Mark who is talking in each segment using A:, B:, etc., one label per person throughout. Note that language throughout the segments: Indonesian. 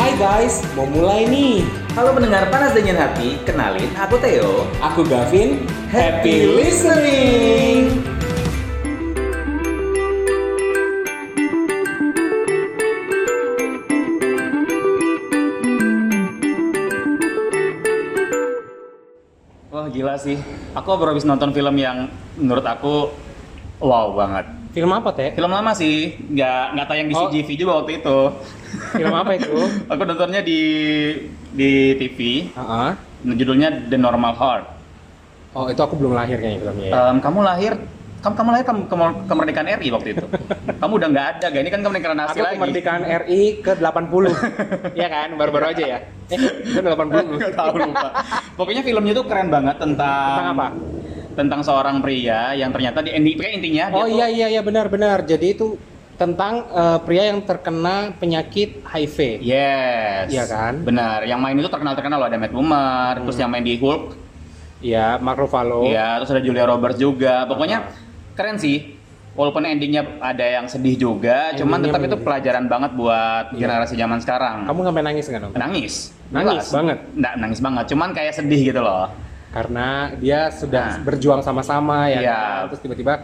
A: Hai guys, mau mulai nih.
B: Halo pendengar panas dengan hati, kenalin aku Theo.
A: Aku Gavin.
B: Happy listening. Wah gila sih, aku baru habis nonton film yang menurut aku wow banget.
A: Film apa teh?
B: Film lama sih, nggak nggak tayang di
A: Oh.
B: CGV juga waktu itu.
A: Film apa itu?
B: Aku nontonnya di di TV,
A: Heeh.
B: judulnya The Normal Heart.
A: Oh itu aku belum lahir kayaknya filmnya. ya.
B: Em, kamu lahir kamu, kamu lahir kem- kemol- kemerdekaan RI waktu itu. kamu udah nggak ada, gak? Ini kan kemerdekaan
A: Aku
B: nasi lagi.
A: kemerdekaan RI ke 80 Iya kan, baru-baru aja ya Eh, itu 80
B: Nggak tahu lupa. Pokoknya filmnya tuh keren banget tentang
A: Tentang apa?
B: Tentang seorang pria yang ternyata di ini pokoknya intinya dia
A: Oh
B: tuh-
A: iya iya iya benar-benar Jadi itu tentang eh, pria yang terkena penyakit HIV
B: Yes.
A: Iya kan? Hmm.
B: Benar. Yang main itu terkenal-terkenal loh ada Matt Boomer, terus yang main di Hulk,
A: Iya, Mark Ruffalo
B: Iya, terus ada Julia Roberts juga. Pokoknya
A: Ah.
B: keren sih. Walaupun endingnya ada yang sedih juga, cuman
A: Endingnya
B: tetap itu
A: menyedihkan.
B: pelajaran banget buat
A: Iya.
B: generasi zaman sekarang.
A: Kamu sampai nangis nggak nonton?
B: Nangis.
A: Nangis banget?
B: Nggak nangis banget, cuman kayak sedih gitu loh.
A: Karena dia sudah
B: Nah.
A: berjuang sama-sama ya
B: Iya.
A: kan? Terus tiba-tiba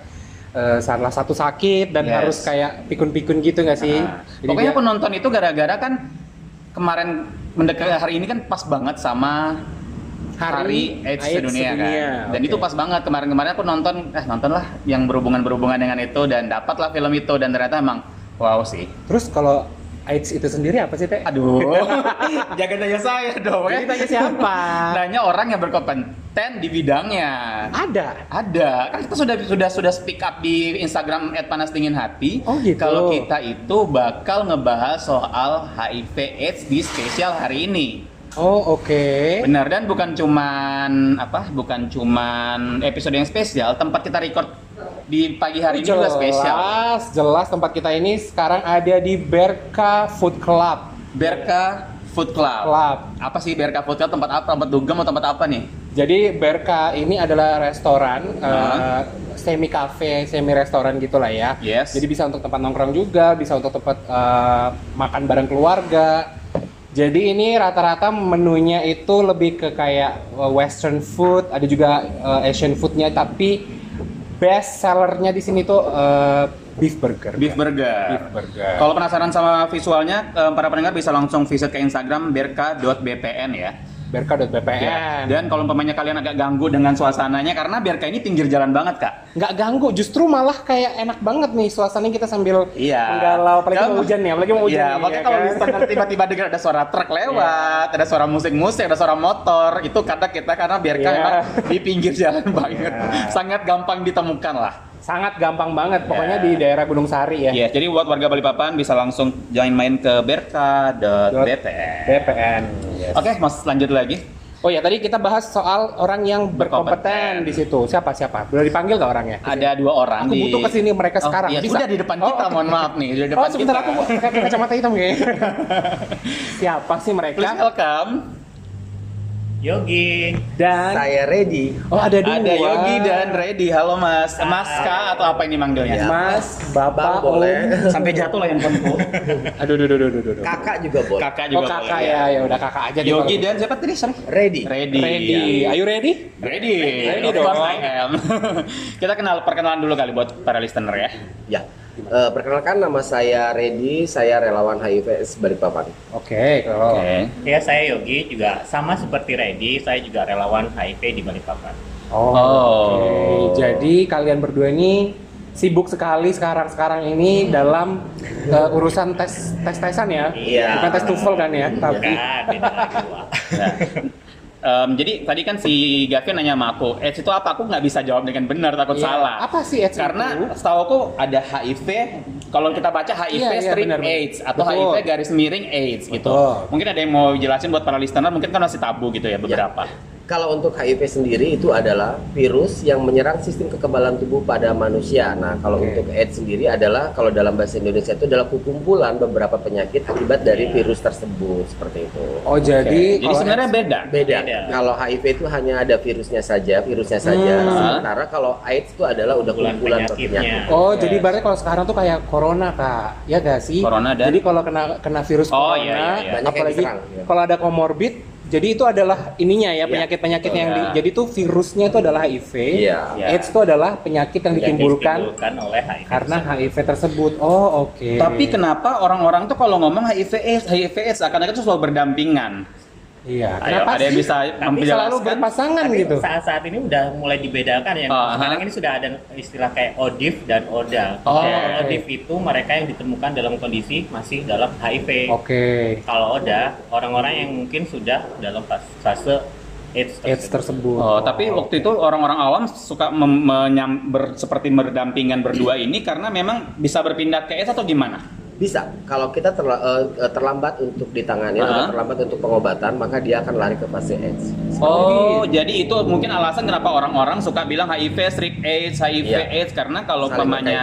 A: eh, salah satu sakit dan
B: Yes.
A: harus kayak pikun-pikun gitu nggak sih?
B: Nah,
A: Jadi
B: pokoknya
A: dia-
B: aku nonton itu gara-gara kan kemarin mendekat hari ini kan pas banget sama
A: Hari
B: hari, AIDS,
A: AIDS sedunia,
B: sedunia, kan. Dan
A: oke.
B: itu pas banget kemarin-kemarin aku nonton, eh nontonlah yang berhubungan-berhubungan dengan itu dan dapatlah film itu dan ternyata emang wow sih.
A: Terus kalau AIDS itu sendiri apa sih teh?
B: Aduh. Jangan tanya saya dong.
A: Jadi tanya siapa?
B: Tanya orang yang berkompeten di bidangnya.
A: Ada.
B: Ada, kan kita sudah sudah sudah speak up di Instagram @panasdinginhati.
A: Oh, gitu.
B: Kalau kita itu bakal ngebahas soal HIV/AIDS di spesial hari ini.
A: Oh oke.
B: Benar dan bukan cuman apa? Bukan cuman episode yang spesial. Tempat kita record di pagi hari ini juga spesial.
A: Jelas, jelas tempat kita ini sekarang ada di Berka Food Club.
B: Berka Food Club.
A: Club.
B: Apa sih Berka Food Club? Tempat apa? Tempat dugem atau tempat apa nih?
A: Jadi Berka ini adalah restoran
B: Nah.
A: eh, semi cafe, semi restoran gitulah ya.
B: Yes.
A: Jadi bisa untuk tempat nongkrong juga, bisa untuk tempat eh, makan bareng keluarga. Jadi ini rata-rata menunya itu lebih ke kayak eh, western food, ada juga eh, Asian foodnya, tapi best sellernya di sini tuh eh, beef burger.
B: Beef burger.
A: Beef burger.
B: Kalau penasaran sama visualnya, eh, para pendengar bisa langsung visit ke Instagram berka.bpn ya.
A: Berka.bpn.
B: Dan kalau umpamanya kalian agak ganggu dengan suasananya karena Berka ini pinggir jalan banget, Kak.
A: nggak ganggu justru malah kayak enak banget nih suasananya kita sambil
B: Iya.
A: menggalau apalagi mau
B: Gampang.
A: hujan nih apalagi mau hujan
B: Iya,
A: nih,
B: makanya
A: ya
B: kalau
A: kan? Iya.
B: listener tiba-tiba dengar ada suara truk lewat, ada suara musik-musik, ada suara motor, itu karena kita karena Berka
A: Iya.
B: emang di pinggir jalan banget. Sangat gampang ditemukan lah.
A: sangat gampang banget pokoknya
B: Iya.
A: di daerah Gunung Sari ya
B: Iya, jadi buat warga Balikpapan bisa langsung join main ke berka.bpn.
A: BPN yes.
B: Oke, Mas lanjut lagi.
A: oh ya tadi kita bahas soal orang yang berkompeten
B: Berkompeten.
A: di situ siapa siapa boleh dipanggil nggak orangnya
B: ada dua orang
A: Aku
B: di...
A: butuh kesini mereka
B: Oh,
A: sekarang.
B: iya,
A: Bisa?
B: sudah di depan
A: Oh,
B: kita
A: oke.
B: mohon maaf nih sudah di depan
A: oh sebentar
B: kita.
A: aku pakai kacamata hitam kayaknya siapa sih mereka
B: please welcome
C: Yogi,
A: dan
C: saya ready.
A: oh ada dua
B: ada Yogi dan Reddy halo mas mas kak atau apa ini manggilnya
A: Mas Bapak
C: Bang boleh.
B: sampai jatuh lah yang penting
A: aduh duh duh duh duh, duh duh.
C: Kakak juga boleh.
B: kakak
A: oh
B: juga
A: kakak
B: boleh. Iya,
A: ya ya udah kakak aja deh
B: Yogi
A: kalau- gitu.
B: dan siapa tadi sorry
C: Ready.
B: Reddy
A: Ready.
B: Iya.
A: Are you ready?
B: Ready,
A: Ready
B: of
A: dong.
B: course I am. Kita kenal perkenalan dulu kali buat para listener ya.
C: Ya. Eh, perkenalkan nama saya Ready, saya relawan HIV Balikpapan.
A: Oke, kalau
B: Oke.
D: Ya, saya Yogi juga sama seperti Reddy, saya juga relawan HIV di Balikpapan.
A: Oh.
B: Oh.
A: oke. Jadi kalian berdua ini sibuk sekali sekarang-sekarang ini dalam eh, urusan tes tes-tesan ya.
C: Iya.
A: Bukan tes TOEFL kan ya, tapi
D: Bukan, beda lagi, Wak.
B: Nah, em, jadi tadi kan si Gavin nanya sama aku, eh itu apa? Aku nggak bisa jawab dengan benar, takut
A: Iya.
B: salah.
A: Apa sih AIDS itu?
B: Karena setahu aku ada HIV, kalau kita baca HIV
A: Iya, iya,
B: strip
A: benar, benar.
B: AIDS atau
A: Betul.
B: HIV garis miring AIDS gitu.
A: Betul.
B: Mungkin ada yang mau jelasin buat para listener, mungkin kan masih tabu gitu ya beberapa.
C: Kalau untuk HIV sendiri itu adalah virus yang menyerang sistem kekebalan tubuh pada manusia. Nah, kalau
A: Oke.
C: untuk AIDS sendiri adalah kalau dalam bahasa Indonesia itu adalah kumpulan beberapa penyakit akibat dari virus tersebut seperti itu.
A: Oh jadi,
B: Jadi
A: kalau
B: sebenarnya beda.
C: Beda.
D: Beda.
C: Kalau HIV itu hanya ada virusnya saja, virusnya saja.
A: Hmm.
C: Sementara kalau AIDS itu adalah udah
D: Kumpulan
C: kumpulan
D: penyakitnya.
C: penyakit.
A: Oh,
B: Yes.
A: jadi ibaratnya kalau sekarang tuh kayak corona, Kak. Ya gak sih?
B: Corona dan-
A: Jadi kalau kena kena virus corona,
B: Oh, iya, iya, iya.
C: Banyak yang
A: apalagi
C: diserang, iya.
A: kalau ada komorbid, jadi itu adalah ininya ya
C: Iya,
A: penyakit-penyakit yang di,
B: betul, ya.
A: jadi tuh virusnya itu adalah HIV.
C: Iya.
D: Iya.
A: AIDS itu adalah penyakit yang
D: Penyakit
A: ditimbulkan
D: ditimbulkan oleh HIV
A: karena HIV tersebut. Oh, oke.
B: Tapi kenapa orang-orang tuh kalau ngomong HIV AIDS, HIV AIDS akan-akan tuh selalu berdampingan.
A: Iya.
D: Ayo,
A: Kenapa
B: ada yang
A: sih
B: bisa
A: selalu
B: menjelaskan?
A: berpasangan
D: Tapi
A: gitu?
D: Saat-saat ini udah mulai dibedakan ya.
B: Ah,
D: Sekarang
B: ah.
D: ini sudah ada istilah kayak ODIF dan ODA.
B: Oh,
D: Kayak
A: oke.
D: ODIF itu mereka yang ditemukan dalam kondisi masih dalam HIV.
A: Oke.
D: Kalau ODA, orang-orang yang mungkin sudah dalam fas- fase AIDS
A: AIDS tersebut.
B: Oh, tapi waktu itu orang-orang awam suka mem- menyam- ber- seperti berdampingan berdua ini karena memang bisa berpindah ke AIDS atau gimana?
C: Bisa. Kalau kita terla- eh, eh, terlambat untuk ditangani atau
B: Hah?
C: terlambat untuk pengobatan, maka dia akan lari ke fase AIDS.
B: Oh,
C: iya.
B: jadi itu mungkin alasan kenapa orang-orang suka bilang HIV, strip AIDS, HIV,
C: Iya.
B: AIDS karena kalau
C: Saling Iya,
B: umpamanya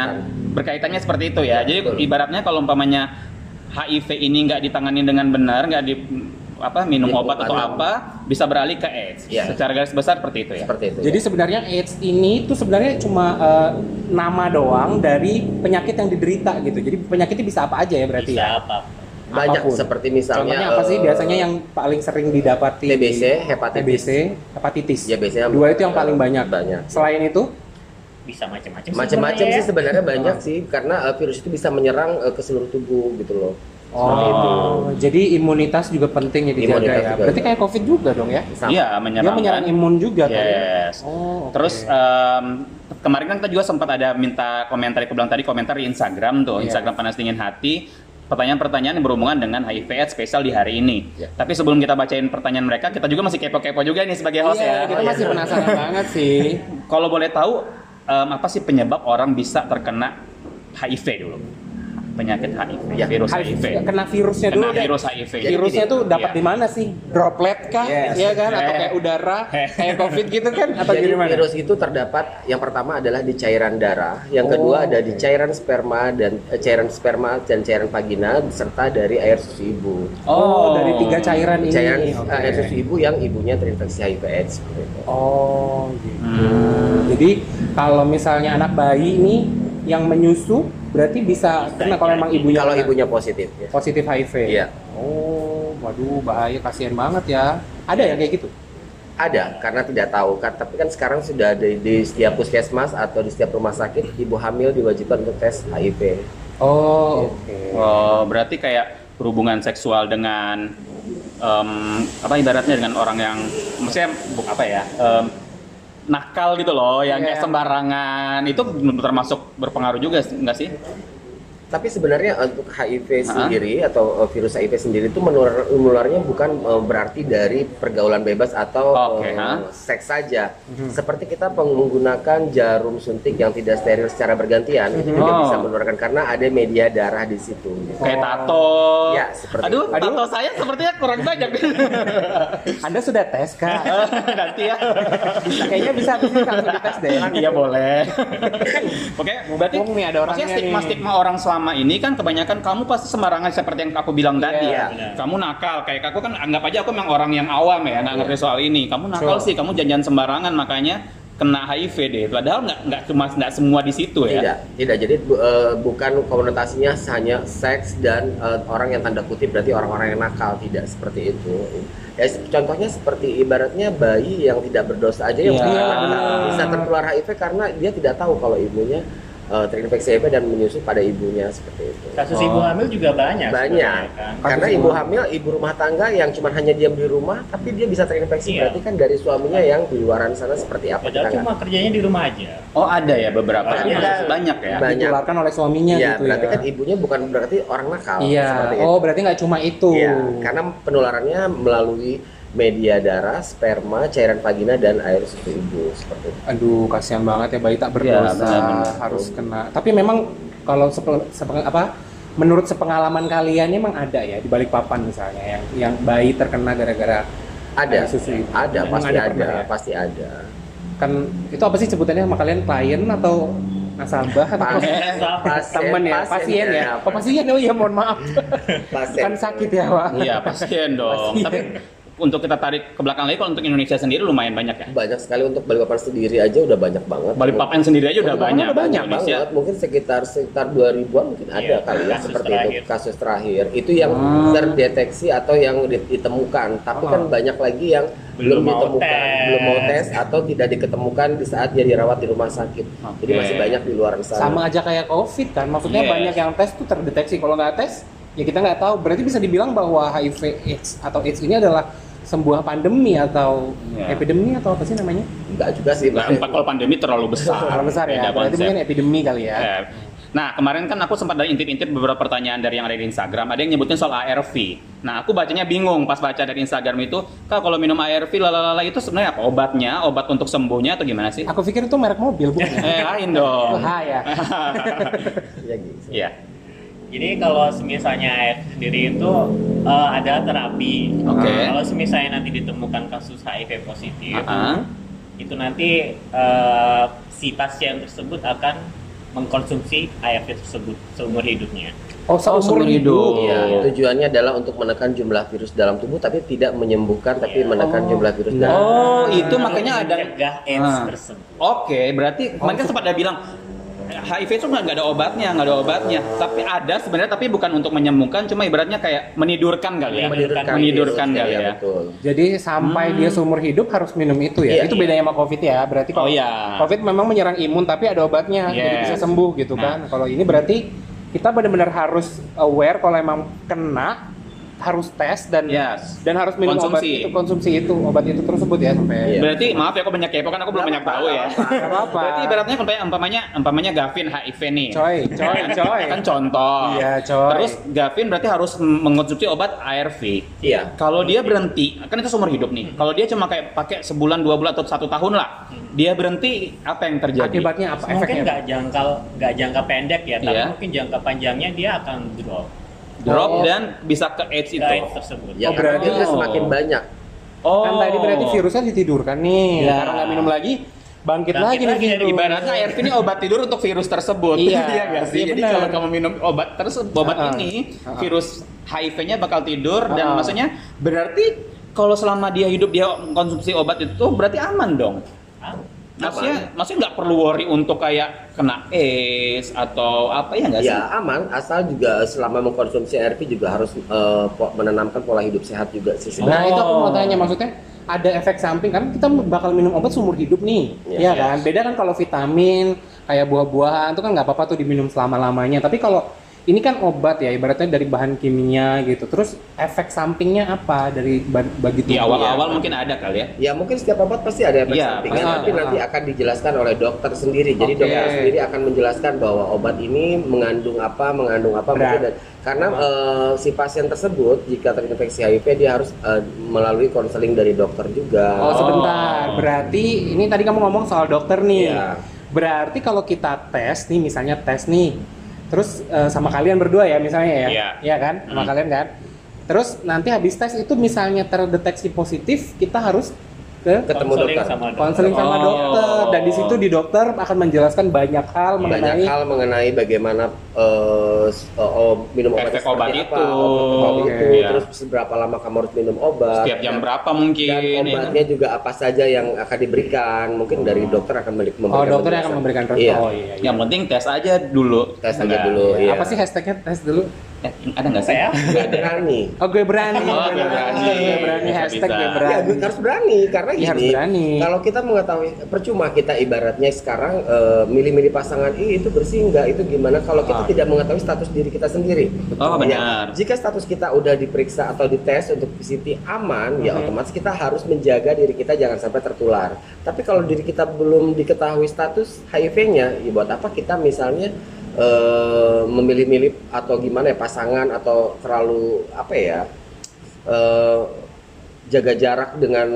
B: berkaitannya seperti itu ya. Jadi
C: betul.
B: ibaratnya kalau umpamanya HIV ini nggak ditangani dengan benar, nggak di apa minum
C: Minum
B: obat atau
C: obat.
B: apa, bisa beralih ke AIDS.
C: Iya.
B: Secara garis besar seperti itu ya.
C: Seperti itu.
A: Jadi sebenarnya AIDS ini tuh sebenarnya cuma eh, nama doang dari penyakit yang diderita gitu. Jadi penyakitnya bisa apa aja ya berarti
D: Bisa
A: ya.
D: apa?
C: banyak
A: apapun.
C: seperti misalnya
A: Contohnya apa sih
C: eh,
A: biasanya yang paling sering didapati?
C: TBC, hepatitis.
A: TBC, hepatitis.
C: Ya, biasanya-
A: Dua itu yang paling banyak.
C: Banyak.
A: Selain itu,
D: Bisa macam-macam.
C: macam-macam
D: sebenarnya
C: sih
D: ya.
C: sebenarnya banyak sih karena eh, virus itu bisa menyerang eh, ke seluruh tubuh gitu loh. Seperti itu.
A: oh, jadi imunitas juga penting ya dijaga
C: Imunitas
A: ya.
C: juga.
A: Berarti kayak COVID juga dong ya?
C: Sama.
B: Iya,
A: Dia
B: menyerang.
A: menyerang
B: kan?
A: imun
C: Iya,
A: juga kan? ya?
B: Yes.
A: Oh, oke.
B: Terus em, kemarin kan kita juga sempat ada minta komentar, aku bilang tadi komentar di Instagram tuh,
A: Iya.
B: Instagram panas dingin hati. Pertanyaan-pertanyaan yang berhubungan dengan HIV AIDS spesial di hari ini.
C: Iya.
B: Tapi sebelum kita bacain pertanyaan mereka, kita juga masih kepo-kepo juga nih sebagai host
A: Iya,
B: ya.
A: kita masih penasaran banget sih.
B: Kalau boleh tahu em, apa sih penyebab orang bisa terkena HIV dulu? Penyakit HIV,
C: Ya,
B: virus
A: Harus
B: HIV.
A: kena virusnya
B: Kena
A: dulu deh.
B: virus HIV.
A: Jadi virusnya
C: gini,
A: tuh dapat
B: iya.
A: di mana sih? Droplet kah?
C: Yes.
A: Iya kan? Atau
B: Eh.
A: kayak udara, kayak COVID gitu kan? Atau
C: Jadi
A: gimana?
C: virus itu terdapat yang pertama adalah di cairan darah, yang
A: Oh,
C: kedua ada di
A: oke.
C: cairan sperma dan eh, cairan sperma dan cairan vagina serta dari air susu ibu.
A: Oh, dari tiga cairan ini.
C: Cairan
A: Oke.
C: eh, air susu ibu yang ibunya terinfeksi HIV AIDS. seperti itu.
A: Oh, gitu.
B: Hmm.
A: Jadi kalau misalnya anak bayi nih yang menyusu berarti bisa
D: Bisa,
A: kena kalau
D: iya.
A: emang ibunya
C: Kalau
A: kena
C: ibunya positif. ya.
A: positif HIV.
C: Iya.
A: Oh, waduh bahaya kasihan banget ya. Ada ya kayak gitu?
C: Ada, karena tidak tahu kan. Tapi kan sekarang sudah ada di setiap puskesmas atau di setiap rumah sakit, ibu hamil diwajibkan untuk tes HIV.
A: Oh, oke.
B: Oh, berarti kayak berhubungan seksual dengan em, apa ibaratnya dengan orang yang maksudnya bu- apa ya? em, nakal gitu loh, yang
A: Iya.
B: kayak sembarangan itu termasuk berpengaruh juga enggak sih?
C: Tapi sebenarnya eh, untuk HIV
B: Hah?
C: sendiri atau eh, virus HIV sendiri itu menular, menularnya bukan eh, berarti dari pergaulan bebas atau
B: Oke,
C: eh,
B: hah? Mhm.
C: seks saja. Seperti kita peng- menggunakan jarum suntik yang tidak steril secara bergantian, itu juga
B: Oh.
C: bisa menularkan karena ada media darah di situ.
B: Kayak
A: Oh.
B: tato.
C: Ya, seperti
B: Aduh,
C: itu.
B: tato saya sepertinya kurang banyak.
A: Anda sudah tes kak?
B: Nanti ya.
A: Kayaknya bisa habis ini langsung dites deh.
B: Iya boleh. Oke, berarti
A: Mumpung nih ada orangnya
B: maksudnya stigma-stigma orang selama ini kan kebanyakan kamu pasti sembarangan seperti yang aku bilang tadi
C: Iya.
B: ya. Kamu nakal, kayak aku kan anggap aja aku memang orang yang awam ya,
A: Iya.
B: nggak ngerti soal ini. Kamu nakal
A: Sure.
B: sih, kamu janjian sembarangan makanya kena HIV deh. Padahal nggak nggak cuma nggak semua di
A: Iya.
B: situ ya.
C: Tidak, tidak. Jadi bu- eh, bukan konotasinya hanya seks dan eh, orang yang tanda kutip berarti orang-orang yang nakal tidak seperti itu. Ya, se- contohnya seperti ibaratnya bayi yang tidak berdosa aja yang
A: Iya,
C: punya anak
A: benar.
C: bisa tertular HIV karena dia tidak tahu kalau ibunya eh, terinfeksi HIV dan menyusu pada ibunya seperti itu.
D: Kasus
B: Oh.
D: ibu hamil juga banyak.
C: Banyak.
D: sebenarnya, kan.
A: Kasus
C: Karena
A: ibu
C: ibu hamil, ibu rumah tangga yang cuma hanya diam di rumah, tapi dia bisa terinfeksi
D: Iya.
C: berarti kan dari suaminya yang di luaran sana seperti apa
D: Padahal
C: kita nggak
D: cuma kerjanya di rumah aja.
B: Oh ada ya beberapa,
A: Iya.
D: Ada.
B: Ini kasus banyak ya.
C: Banyak.
A: Ditularkan oleh suaminya
C: Iya,
A: gitu
C: berarti
A: ya.
C: kan ibunya bukan berarti orang nakal.
A: Iya.
C: seperti itu.
A: Oh berarti nggak cuma itu.
C: Iya, karena penularannya melalui media darah, sperma, cairan vagina dan air susu ibu seperti itu.
A: Aduh, kasihan banget ya bayi tak
B: Iya,
A: berdosa
B: benar-benar.
A: harus kena. Tapi memang kalau sepe- sepe- apa menurut sepengalaman kalian emang ada ya di balik papan misalnya yang yang bayi terkena gara-gara
C: ada
A: Dari sisi-
C: ada
A: Memang
C: pasti
A: ada
C: ada,
A: pernah ya?
C: pasti ada
A: kan itu apa sih sebutannya sama kalian klien atau nasabah atau
C: Pas- pasien,
A: temen ya pasien ya oh pasien oh iya mohon maaf
C: pasien.
A: bukan sakit ya pak
B: Iya pasien dong.
A: Pasien.
B: Tapi untuk kita tarik ke belakang lagi, kalau untuk Indonesia sendiri lumayan banyak ya.
C: banyak sekali untuk Balikpapan sendiri aja udah banyak banget
B: Balikpapan sendiri aja udah
A: Balikpapan
B: banyak.
A: udah banyak
B: Indonesia.
C: banget mungkin sekitar sekitar 2000-an mungkin ada
D: Iya,
C: kali ya
D: kasus
C: seperti
D: terakhir.
C: itu kasus terakhir itu yang
A: Hmm.
C: terdeteksi atau yang di- ditemukan tapi
A: Oh.
C: kan banyak lagi yang belum,
D: Belum mau
C: ditemukan
D: tes.
C: belum mau tes atau tidak diketemukan di saat dia dirawat di rumah sakit jadi
B: Oke.
C: masih banyak di luar sana
A: sama aja kayak covid kan maksudnya
B: Yes.
A: banyak yang tes tuh terdeteksi kalau nggak tes ya kita nggak tahu berarti bisa dibilang bahwa HIV AIDS atau AIDS ini adalah sebuah pandemi atau
B: Iya.
A: epidemi atau apa sih namanya
C: enggak juga sih
B: Nggak,
C: maksudnya.
B: empat kalau pandemi terlalu besar.
A: Kalau besar ya
B: Beda
A: berarti
B: konsep.
A: mungkin epidemi kali ya
B: Eh, Nah, kemarin kan aku sempat dari intip-intip beberapa pertanyaan dari yang ada di Instagram. Ada yang nyebutin soal ARV. Nah, aku bacanya bingung pas baca dari Instagram itu, Kak, kalau minum ARV lalalala itu sebenarnya apa? Obatnya? Obat untuk sembuhnya atau gimana sih?
A: aku pikir itu merek mobil bukan
B: eh, lain dong.
A: Wah, ya
C: Ya, gitu.
B: Iya.
D: Jadi kalau semisalnya AF sendiri itu eh, ada terapi. Eh,
B: Oke.
D: Kalau semisalnya nanti ditemukan kasus HIV positif,
A: Iya.
B: Ah,
D: itu nanti eh, si pasien tersebut akan mengkonsumsi ARV tersebut seumur hidupnya.
A: oh seumur hidup
C: Iya, tujuannya adalah untuk menekan jumlah virus dalam tubuh tapi tidak menyembuhkan tapi
D: Iya.
C: menekan
A: Oh.
C: jumlah virus dalam tubuh.
B: Oh, itu
A: Iya.
D: Untuk
B: makanya ada
D: mencegah AIDS
B: Ah.
D: tersebut.
B: Oke, berarti
A: Oh,
B: kemarin kan sempat ada bilang HIV itu nggak nggak ada obatnya, nggak ada obatnya. Tapi ada sebenarnya, tapi bukan untuk menyembuhkan, cuma ibaratnya kayak menidurkan kali ya.
D: Menidurkan.
C: virus.
B: Menidurkan kali
C: Iya,
B: ya.
C: betul.
A: Jadi sampai dia seumur hidup harus minum itu ya.
C: Iya,
A: itu
C: iya.
A: bedanya sama Covid ya. Berarti kalau
B: Hmm. Oh, iya.
A: Covid memang menyerang imun tapi ada obatnya jadi
B: Yes. Nah.
A: bisa sembuh gitu kan. Kalau ini berarti kita benar-benar harus aware kalau emang kena harus tes dan
B: Yes.
A: dan harus minum obat
B: Konsumsi.
A: itu konsumsi itu obat itu tersebut ya sampai
C: Iya.
B: Berarti maaf ya, aku banyak kepo kan aku belum banyak tahu ya.
A: Nggak apa-apa.
B: Berarti ibaratnya umpamanya umpamanya umpamanya Gavin HIV nih.
A: Coy, coy, coy.
B: Kan contoh.
A: Iya, coy.
B: Terus Gavin berarti harus mengkonsumsi obat ARV.
C: Iya.
B: Kalau dia berhenti, kan itu seumur hidup nih. Kalau dia cuma kayak pakai sebulan, dua bulan atau satu tahun lah, dia berhenti apa yang terjadi?
A: Akibatnya apa?
D: mungkin
A: Efeknya apa?
D: nggak jangkal nggak jangka pendek ya,
B: ya?
D: tapi
B: Iya.
D: mungkin jangka panjangnya dia akan drop
A: Oh.
B: drop dan bisa ke AIDS
D: si
B: itu.
D: AIDS tersebut.
C: Ya,
A: Oh, berarti-
C: karena virus semakin banyak.
B: Oh.
A: Kan tadi berarti virusnya ditidurkan nih.
B: Iya.
A: Karena nggak minum lagi bangkit,
D: Bangkit
A: lagi nih
D: lagi dari
A: tidur.
B: Ibaratnya ARV ini obat tidur untuk virus tersebut.
A: Gitu. Iya.
B: nggak sih?
A: Iya,
B: Jadi
A: benar.
B: kalau kamu minum obat tersebut, obat
A: Ah, ah.
B: ini
A: Ah, ah.
B: virus HIV-nya bakal
A: Ah,
B: tidur
A: ah.
B: dan maksudnya berarti kalau selama dia hidup dia konsumsi obat itu berarti aman dong.
D: Ah,
B: Maksudnya, maksudnya nggak perlu worry untuk kayak kena AIDS atau apa ya nggak sih?
C: Ya aman, asal juga selama mengkonsumsi ARV juga harus eh, po- menanamkan pola hidup sehat juga sih.
A: Nah
B: Oh.
A: itu aku mau tanya maksudnya ada efek samping kan kita bakal minum obat seumur hidup nih,
C: Iya,
A: ya kan? Beda kan kalau vitamin kayak buah-buahan itu kan nggak apa-apa tuh diminum selama lamanya. Tapi kalau ini kan obat ya ibaratnya dari bahan kimia gitu. Terus efek sampingnya apa dari ba- bagi
B: Di
A: tubuh?
B: awal-awal mungkin ada kali ya.
C: Ya mungkin setiap obat pasti ada efek
B: Iya,
C: sampingnya,
A: pasti.
C: tapi nanti akan dijelaskan oleh dokter sendiri. Jadi
A: Oke.
C: dokter sendiri akan menjelaskan bahwa obat ini mengandung apa, mengandung apa,
A: Berat.
C: mungkin dan- karena eh, si pasien tersebut jika terinfeksi HIV dia harus eh, melalui konseling dari
A: Oh
C: dokter juga.
A: sebentar, berarti ini tadi kamu ngomong soal dokter nih.
C: Iya.
A: Berarti kalau kita tes nih, misalnya tes nih, terus eh, sama kalian berdua ya misalnya ya,
B: Iya.
A: Iya kan, sama
B: Hmm.
A: kalian kan. Terus nanti habis tes itu misalnya terdeteksi positif, kita harus ke
C: Ketemu
D: konseling
C: dokter.
D: sama dokter.
A: konseling sama
B: Oh.
A: dokter dan di situ di dokter akan menjelaskan banyak hal mengenai
C: banyak hal mengenai bagaimana eh, s- eh, oh, minum obat
B: Efek
C: seperti
B: obat
C: apa,
B: itu.
C: obat itu,
B: Iya.
C: terus seberapa lama kamu harus minum obat,
B: Setiap jam
C: dan-
B: berapa mungkin?
C: Eh, dan
B: ya kan?
C: obatnya juga apa saja yang akan diberikan, mungkin dari dokter akan memberi- memberikan.
A: oh dokter yang akan
C: penjelasan.
A: memberikan
C: Iya.
A: Oh, iya, iya.
B: Yang penting tes aja dulu.
C: Tes aja
B: Nggak.
C: dulu. iya.
A: Apa sih hashtagnya tes dulu?
B: Eh, ada nggak sih?
D: Saya?
C: Nggak berani.
A: Oh gue berani,
B: Oh, gue berani.
A: gue berani
B: Bisa,
A: hashtag
B: bisa.
A: gue
C: Ya,
A: berani.
C: harus berani karena
A: Iya, harus
C: gini,
A: berani.
C: Kalau kita mengetahui percuma kita ibaratnya sekarang eh, milih-milih pasangan "Ih, itu bersih nggak itu gimana kalau kita
A: Ah.
C: tidak mengetahui status diri kita sendiri.
B: Oh,
C: Ya,
B: benar.
C: Jika status kita udah diperiksa atau dites untuk PCT aman, ya
A: Mhm.
C: otomatis kita harus menjaga diri kita jangan sampai tertular. Tapi kalau diri kita belum diketahui status HIV-nya, ya buat apa kita misalnya eh, memilih-milih atau gimana ya pasangan atau terlalu apa ya eh, jaga jarak dengan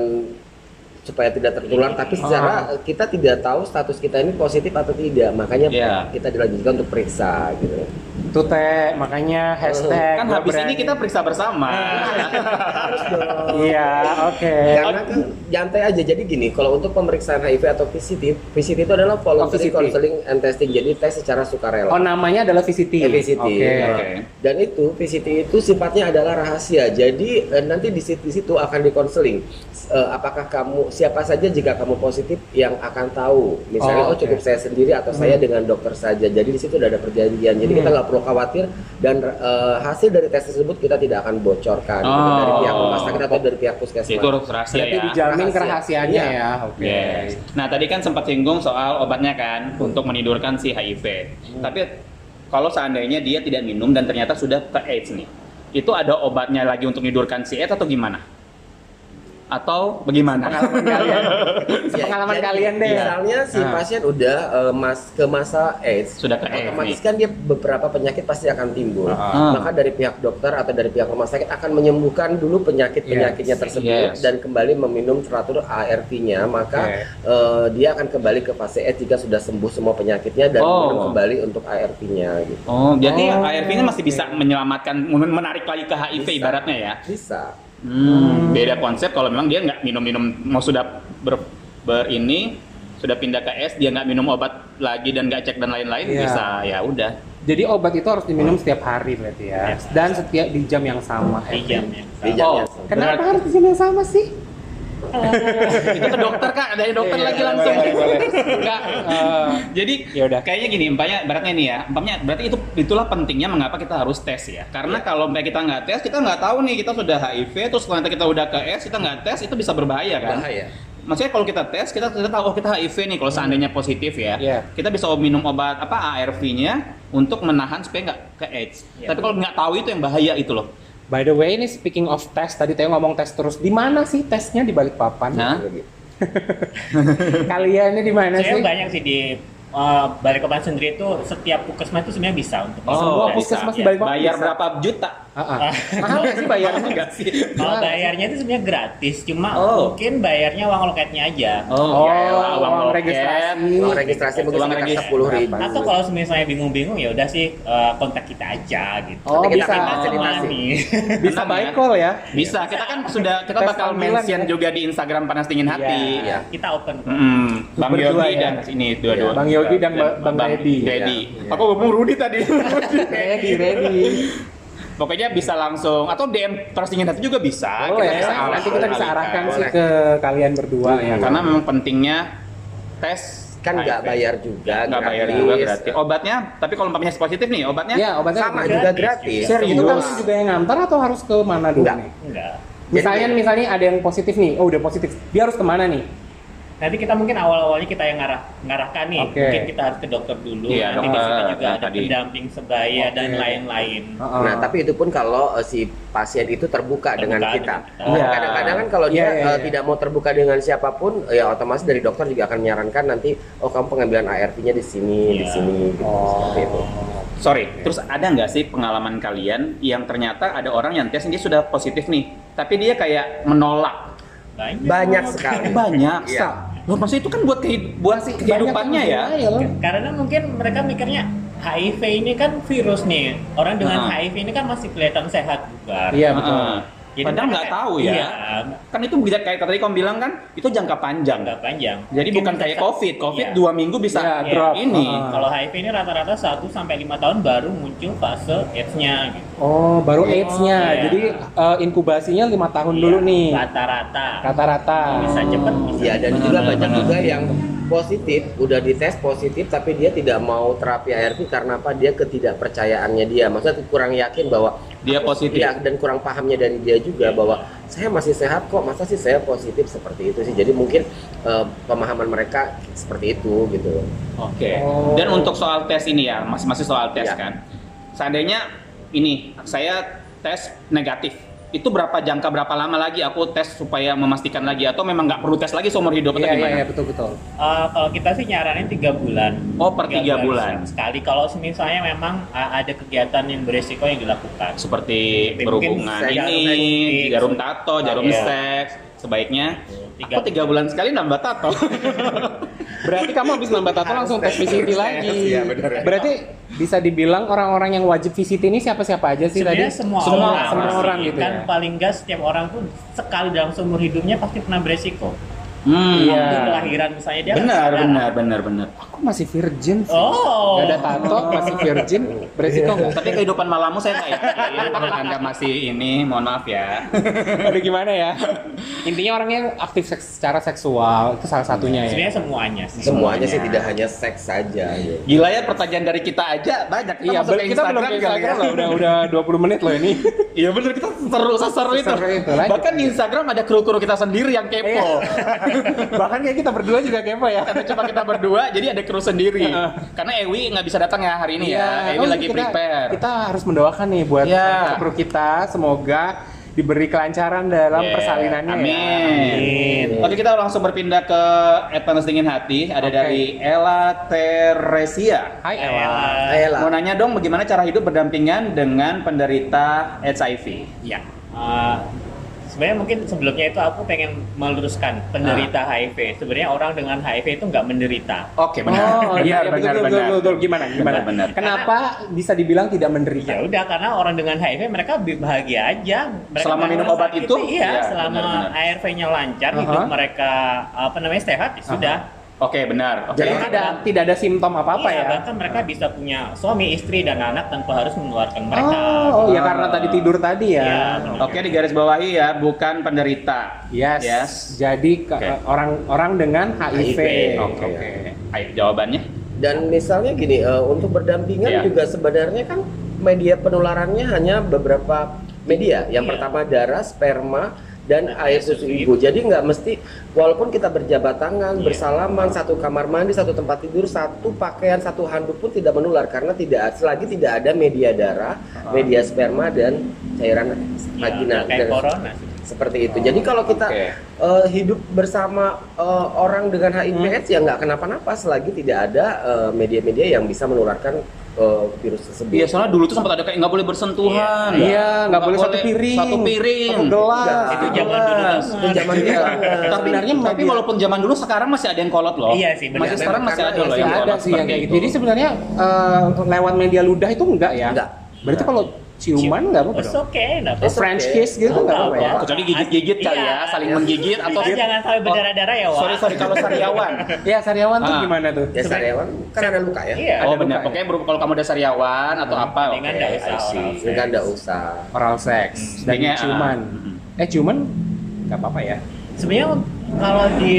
C: supaya tidak tertular tapi secara kita tidak tahu status kita ini positif atau tidak makanya
B: Iya.
C: kita dilanjutkan untuk periksa gitu
A: Tute, makanya hashtag.
B: Kan
A: gua
B: habis ini
A: berani.
B: kita periksa bersama.
C: Harus dong.
A: Iya, oke.
C: Karena kan nyantai aja. Jadi gini, kalau untuk pemeriksaan HIV atau VCT, VCT itu adalah voluntary
A: VCT.
C: counseling and testing. Jadi tes secara sukarela.
A: Oh namanya adalah VCT.
C: Eh, VCT.
A: Oke.
C: Nah,
B: Oke.
C: Dan itu VCT itu sifatnya adalah rahasia. Jadi eh, nanti di situ, di situ akan dikonseling Eh, apakah kamu siapa saja jika kamu positif yang akan tahu. Misalnya
A: Oh,
C: oh,
A: oke.
C: cukup saya sendiri atau saya dengan dokter saja. Jadi di situ udah ada perjanjian. Jadi kita nggak perlu khawatir dan eh, hasil dari tes tersebut kita tidak akan bocorkan Itu
B: Oh.
C: dari pihak rumah sakit atau dari pihak puskesmas.
B: Itu harus rahasia
A: Berarti
B: ya.
A: dijamin
C: Rahasia.
A: kerahasiaannya
C: Iya.
A: ya. Oke.
B: Yes. Nah tadi kan sempat singgung soal obatnya kan untuk menidurkan si HIV.
A: Hmm.
B: Tapi kalau seandainya dia tidak minum dan ternyata sudah ke AIDS nih, itu ada obatnya lagi untuk menidurkan si AIDS atau gimana? Atau bagaimana?
A: Pengalaman kalian.
C: Ya,
A: Pengalaman
C: jadi
A: kalian deh.
C: Misalnya si
A: Ah.
C: pasien udah eh, mas ke masa AIDS,
B: Sudah ke AIDS
C: otomatis
B: nih.
C: kan dia beberapa penyakit pasti akan timbul.
B: Ah.
C: Maka dari pihak dokter atau dari pihak rumah sakit akan menyembuhkan dulu penyakit penyakitnya
A: Yes.
C: tersebut
B: Yes.
C: dan kembali meminum teratur ARV-nya. Maka
A: Oke.
C: eh, dia akan kembali ke fase AIDS jika sudah sembuh semua penyakitnya dan
B: Oh.
C: minum kembali untuk ARV-nya. Gitu.
B: Oh, jadi
A: Oh,
B: ARV ini masih
A: oke.
B: bisa menyelamatkan, men- menarik lagi ke HIV
C: Bisa.
B: ibaratnya ya.
C: Bisa.
B: Hmm, beda konsep kalau memang dia nggak minum-minum mau sudah ber, ber ini sudah pindah ke S dia nggak minum obat lagi dan nggak cek dan lain-lain
A: Iya.
B: bisa ya udah
A: Jadi obat itu harus diminum setiap hari berarti ya.
D: Yes.
A: Dan setiap di jam yang sama.
D: di jam ya. yang
C: Di
D: sama.
A: Iya,
C: jam
B: Oh,
C: yang sama.
A: Kenapa
B: Berarti-
A: harus di jam yang sama sih?
B: itu ke dokter kak ada dokter
A: Iya,
B: lagi
A: boleh,
B: langsung
A: boleh, boleh.
B: Nggak, eh, jadi
A: Ya udah.
B: kayaknya gini empatnya beratnya nih ya empatnya berarti itu itulah pentingnya mengapa kita harus tes ya karena
A: Iya.
B: kalau kayak kita nggak tes kita nggak tahu nih kita sudah HIV terus ternyata kita udah ke S kita nggak tes itu bisa berbahaya kan
C: Bahaya.
B: maksudnya kalau kita tes kita kita tahu oh kita HIV nih kalau seandainya positif ya
A: Hmm. Iya.
B: kita bisa minum obat apa ARV-nya untuk menahan supaya nggak ke AIDS
D: Iya.
B: tapi kalau nggak tahu itu yang bahaya itu loh
A: By the way, ini speaking of test, tadi Teo ngomong tes terus. Di mana sih tesnya di balik papan?
B: Nah.
A: Kalian ini di mana
D: Saya
A: Iya sih?
D: banyak sih di eh, balik ke Bandung sendiri itu setiap puskesmas itu sebenarnya bisa untuk
A: Oh, Semua
D: bisa.
A: puskesmas
D: Ya.
A: balik papan
B: bayar
A: bisa.
B: berapa juta
A: Ah, ah. Mahal nggak sih bayarnya?
B: enggak sih
D: Kalau bayarnya itu sebenarnya gratis, cuma
B: Oh.
D: mungkin bayarnya uang loketnya aja.
A: Oh,
B: ya elah,
A: uang
B: loket.
A: registrasi.
C: Uang registrasi mungkin
B: Uang
C: sekitar
B: regis-
C: sepuluh ribu.
D: Atau kalau misalnya bingung-bingung ya udah sih eh, kontak kita aja gitu.
A: Oh,
C: Nanti kita
A: bisa.
C: akan fasilitasi.
D: Temani.
A: Bisa
B: Tenang
A: by
B: ya.
A: call ya?
B: Bisa, kita kan sudah kita
A: Tes
B: bakal
A: tampilan
B: mention
A: ya.
B: juga di Instagram panas dingin hati.
C: Iya.
D: kita open.
B: Mm-mm. Bang
A: Berdua ya.
B: Yogi dan ini
A: Iya,
B: dua-dua.
A: Bang Yogi dan Ba- Bang Dedi.
B: Dedi.
C: Iya.
B: Aku ngomong Rudi tadi.
A: Ready, ready.
B: Pokoknya bisa langsung atau DM panas dingin hati juga bisa.
A: Boleh,
B: bisa
A: ya.
B: arah-
A: nanti kita bisa
B: alihkan.
A: arahkan sih
C: Boleh.
A: ke kalian berdua ya.
B: Karena memang pentingnya tes
C: Kan nggak
B: HIV.
C: bayar juga.
B: Nah, nggak bayar
C: gratis. Iya.
B: juga Oh, gratis. Obatnya, tapi kalau umpamanya positif nih, obatnya
A: ya obatnya
C: Sama
A: juga.
C: juga gratis.
A: Serius? Itu kalian juga yang ngantar atau harus ke mana dulu
C: Enggak.
A: nih?
D: Enggak.
A: Misalnya misalnya ada yang positif nih, oh udah positif, dia harus kemana nih?
D: Nanti kita mungkin awal-awalnya kita yang ngarah ngarahkan nih.
A: Oke.
D: Mungkin kita harus ke dokter dulu.
B: Iya,
D: nanti di
B: dokter.
D: situ juga
B: Nah,
D: ada
B: tadi.
D: pendamping sebaya dan
A: Oke.
D: lain-lain.
A: Heeh.
C: Nah, tapi itu pun kalau eh, si pasien itu terbuka, dengan
D: dengan
C: kita.
B: kita.
C: Nah, Kadang-kadang kan kalau dia
A: Iya, iya,
C: eh,
A: iya.
C: tidak mau terbuka dengan siapapun, eh, ya otomatis dari dokter juga akan menyarankan nanti, oh kamu pengambilan ARV-nya di sini, di
D: Iya.
C: sini, gitu,
A: Oh.
C: seperti itu.
B: Sorry, terus ada nggak sih pengalaman kalian yang ternyata ada orang yang tes dia sudah positif nih, tapi dia kayak menolak? Eh,
D: Banyak.
C: Banyak sekali.
B: Banyak.
C: Iya.
B: Sa. Loh, maksudnya itu kan buat kehi- buat si kehidupannya
A: Banyak
B: ya?
A: yang denial.
D: Karena mungkin mereka mikirnya HIV ini kan virus nih. Orang dengan
B: Nah.
D: HIV ini kan masih kelihatan sehat bugar.
A: Iya betul.
B: Heeh. Padahal
D: mereka
B: nggak
D: kayak-
B: tahu ya.
D: Iya,
B: Kan itu bisa kayak tadi kamu bilang kan, itu jangka panjang.
D: nggak panjang.
B: Jadi
D: Mungkin
B: bukan
D: bisa
B: kayak
D: sa-
B: COVID. COVID
D: Iya.
B: dua minggu bisa
A: Iya,
D: Iya.
A: drop.
B: ini.
A: Heeh.
D: Kalau HIV ini rata-rata 1 sampai 5 tahun baru muncul fase AIDS-nya gitu.
A: Oh, baru AIDS-nya.
D: iya.
A: Jadi eh, inkubasinya lima tahun dulu
D: Iya,
A: nih.
D: Rata-rata.
A: Rata-rata.
D: Bisa cepet, bisa
C: Iya, dan
B: Benar,
C: juga
B: benar,
C: banyak
B: benar.
C: juga yang positif, udah dites positif, tapi dia tidak mau terapi ARV karena apa? Dia ketidakpercayaannya dia, maksudnya kurang yakin bahwa
B: Dia positif.
C: Iya, dan kurang pahamnya dari dia juga bahwa saya masih sehat kok, masa sih saya positif seperti itu sih. Jadi mungkin eh, pemahaman mereka seperti itu gitu.
B: Oke.
A: Oh.
B: Dan untuk soal tes ini ya, masih masih soal tes
C: Ya.
B: kan. Seandainya ini saya tes negatif, itu berapa jangka berapa lama lagi aku tes supaya memastikan lagi atau memang nggak perlu tes lagi seumur hidup atau
A: Iya, iya,
B: gimana?
A: iya, betul betul.
D: Eh, kalau kita sih nyaranin tiga bulan.
B: Oh, per tiga bulan.
D: Sekali kalau misalnya memang eh, ada kegiatan yang beresiko yang dilakukan.
B: Seperti
D: Mungkin
B: berhubungan
C: saya
B: ini,
C: jarum
D: seks.
B: jarum tato, jarum
D: Iya.
B: seks, sebaiknya
D: Tiga
B: aku tiga bulan sekali nambah tato.
A: Berarti kamu habis nambah tato langsung tes VCT lagi.
E: Iya, benar ya.
A: Berarti bisa dibilang orang-orang yang wajib VCT ini siapa-siapa aja sih
D: Sebenarnya
A: tadi?
D: semua,
A: semua
D: orang,
A: semua
D: pasti.
A: orang gitu
D: kan
A: ya.
D: paling gas setiap orang pun sekali dalam seumur hidupnya pasti pernah beresiko.
B: Hmm,
A: Iya.
D: Waktu kelahiran misalnya dia kan
B: Benar,
D: sadar.
B: benar, benar, benar.
A: Aku masih virgin. sih.
D: Oh.
A: Nggak ada tato, masih virgin. Beresiko nggak?
B: Tapi kehidupan malammu saya nggak yakin. Anda masih ini, mohon maaf ya.
A: Aduh gimana ya? Intinya orangnya aktif seks- secara seksual itu salah satunya ya.
D: Sebenarnya semuanya sih.
C: Semuanya sih
B: Semuanya.
C: tidak hanya seks saja. gitu.
B: Gila ya pertanyaan dari kita aja banyak.
A: Iya,
B: masuk
A: ber-
B: ke
A: kita belum
B: Instagram
A: ke
B: kali
A: Instagram
B: ya.
A: loh, udah udah 20 menit loh ini.
B: Iya bener kita seru seseru itu.
A: Seseru itu, lanjut. Iya.
B: Bahkan di Instagram ada kru-kru kita sendiri yang kepo.
A: Bahkan kayak kita berdua juga kepo ya.
B: Karena cuma kita berdua, jadi ada kru sendiri.
A: Heeh.
B: Karena Ewi nggak bisa datang ya hari ini
A: Iya.
B: ya. Ewi
A: Oh,
B: lagi
A: kita,
B: prepare.
A: Kita harus mendoakan nih buat
B: Iya.
A: kru kita semoga diberi kelancaran dalam
B: Yeah.
A: persalinannya. ya.
B: Iya. Amin.
D: Amin.
B: Oke kita langsung berpindah ke At Panas Dingin Hati.
A: Oke.
B: Ada dari Ella Teresia.
A: Hai Ella.
D: Ella.
C: Ayolah.
B: Mau nanya dong bagaimana cara hidup berdampingan dengan penderita AIDS HIV?
D: Ya. Eh, sebenarnya mungkin sebelumnya itu aku pengen meluruskan penderita HIV. Sebenarnya orang dengan HIV itu nggak menderita.
B: Oke
A: Oh,
B: benar.
A: iya, betul,
B: Iya benar
A: betul,
B: benar.
A: betul, betul. Gimana? Gimana?
B: Benar, Iya. benar.
A: Kenapa bisa dibilang tidak menderita?
D: Ya udah karena orang dengan HIV mereka bahagia aja. Mereka
B: Selama
D: nggak
B: minum
D: merasa
B: obat
D: sakit.
B: itu?
D: iya,
B: Iya,
D: selama
B: benar-benar.
D: ARV-nya lancar,
A: Aha.
D: hidup mereka apa namanya sehat, ya sudah.
B: Oke benar. Oke.
A: Jadi
D: Oke.
A: tidak tidak ada simptom apa-apa
D: Iya,
A: ya.
D: Bahkan mereka bisa punya suami, istri dan anak tanpa harus menularkan mereka.
A: Oh, ya karena tadi
B: Ah.
A: tidur tadi ya.
D: Iya, benar.
B: Oke di garis bawahi ya bukan penderita.
A: Yes.
B: Yes.
A: Jadi ke-
B: Oke.
A: orang-orang dengan HIV.
C: HIV.
B: Oke oke. Ayo jawabannya.
C: Dan misalnya gini, eh, untuk berdampingan
B: Iya.
C: juga sebenarnya kan media penularannya hanya beberapa media. Yang
D: Iya.
C: pertama darah, sperma, dan
D: Nah,
C: air susu ibu. Jadi nggak mesti, walaupun kita berjabat tangan,
D: Iya.
C: bersalaman, satu kamar mandi, satu tempat tidur, satu pakaian, satu handuk pun tidak menular karena tidak selagi tidak ada media darah, media sperma dan cairan
D: Iya,
C: vagina
D: kayak
C: Dan
D: corona.
C: seperti itu. Jadi kalau kita
B: Oke.
C: eh, hidup bersama eh, orang dengan HIV/AIDS ya nggak kenapa-napa selagi tidak ada eh, media-media yang bisa menularkan eh, virus tersebut.
B: Iya soalnya dulu tuh sempat ada kayak nggak boleh bersentuhan.
A: Iya, nggak boleh satu piring.
B: Satu piring.
A: Satu gelas. Iya,
C: Nggak.
D: Itu zaman dulu
B: Jelas.
C: Itu
D: banget.
C: zaman dulu banget.
B: Tapi,
A: Sebenarnya
B: tapi
A: memang-
B: walaupun zaman dulu sekarang masih ada yang kolot loh.
D: Iya sih, benar.
B: Masih sekarang masih ada loh
A: Masih
B: yang
A: ada
B: kolot
A: sih yang
B: seperti
A: kayak gitu.
B: itu.
A: Jadi sebenarnya eh, lewat media ludah itu enggak ya?
C: Enggak.
A: Berarti kalau ciuman enggak apa-apa.
D: It's
A: dong?
D: okay, nggak apa-apa.
C: It's
A: French
C: okay.
A: kiss gitu enggak apa-apa ya?
D: Nggak
B: kecuali gigit-gigit kali ya,
D: Iya.
B: saling menggigit atau
D: Kita jangan sampai berdarah-darah ya, Wak.
B: Sorry sorry kalau sariawan.
A: Ya sariawan tuh
B: Ah.
A: gimana tuh?
C: Ya sariawan kan ada luka ya.
D: Iya.
B: Oh
A: Ada
B: benar.
A: luka ya?
B: Pokoknya berupa kalau kamu ada sariawan atau apa?
D: Mendingan
B: oke,
D: nggak
B: I
D: usah,
B: see.
D: orang.
C: Sehingga nggak usah.
A: Oral sex dan
B: Sebenarnya,
A: ciuman. Eh ciuman enggak apa-apa ya?
D: Sebenarnya kalau di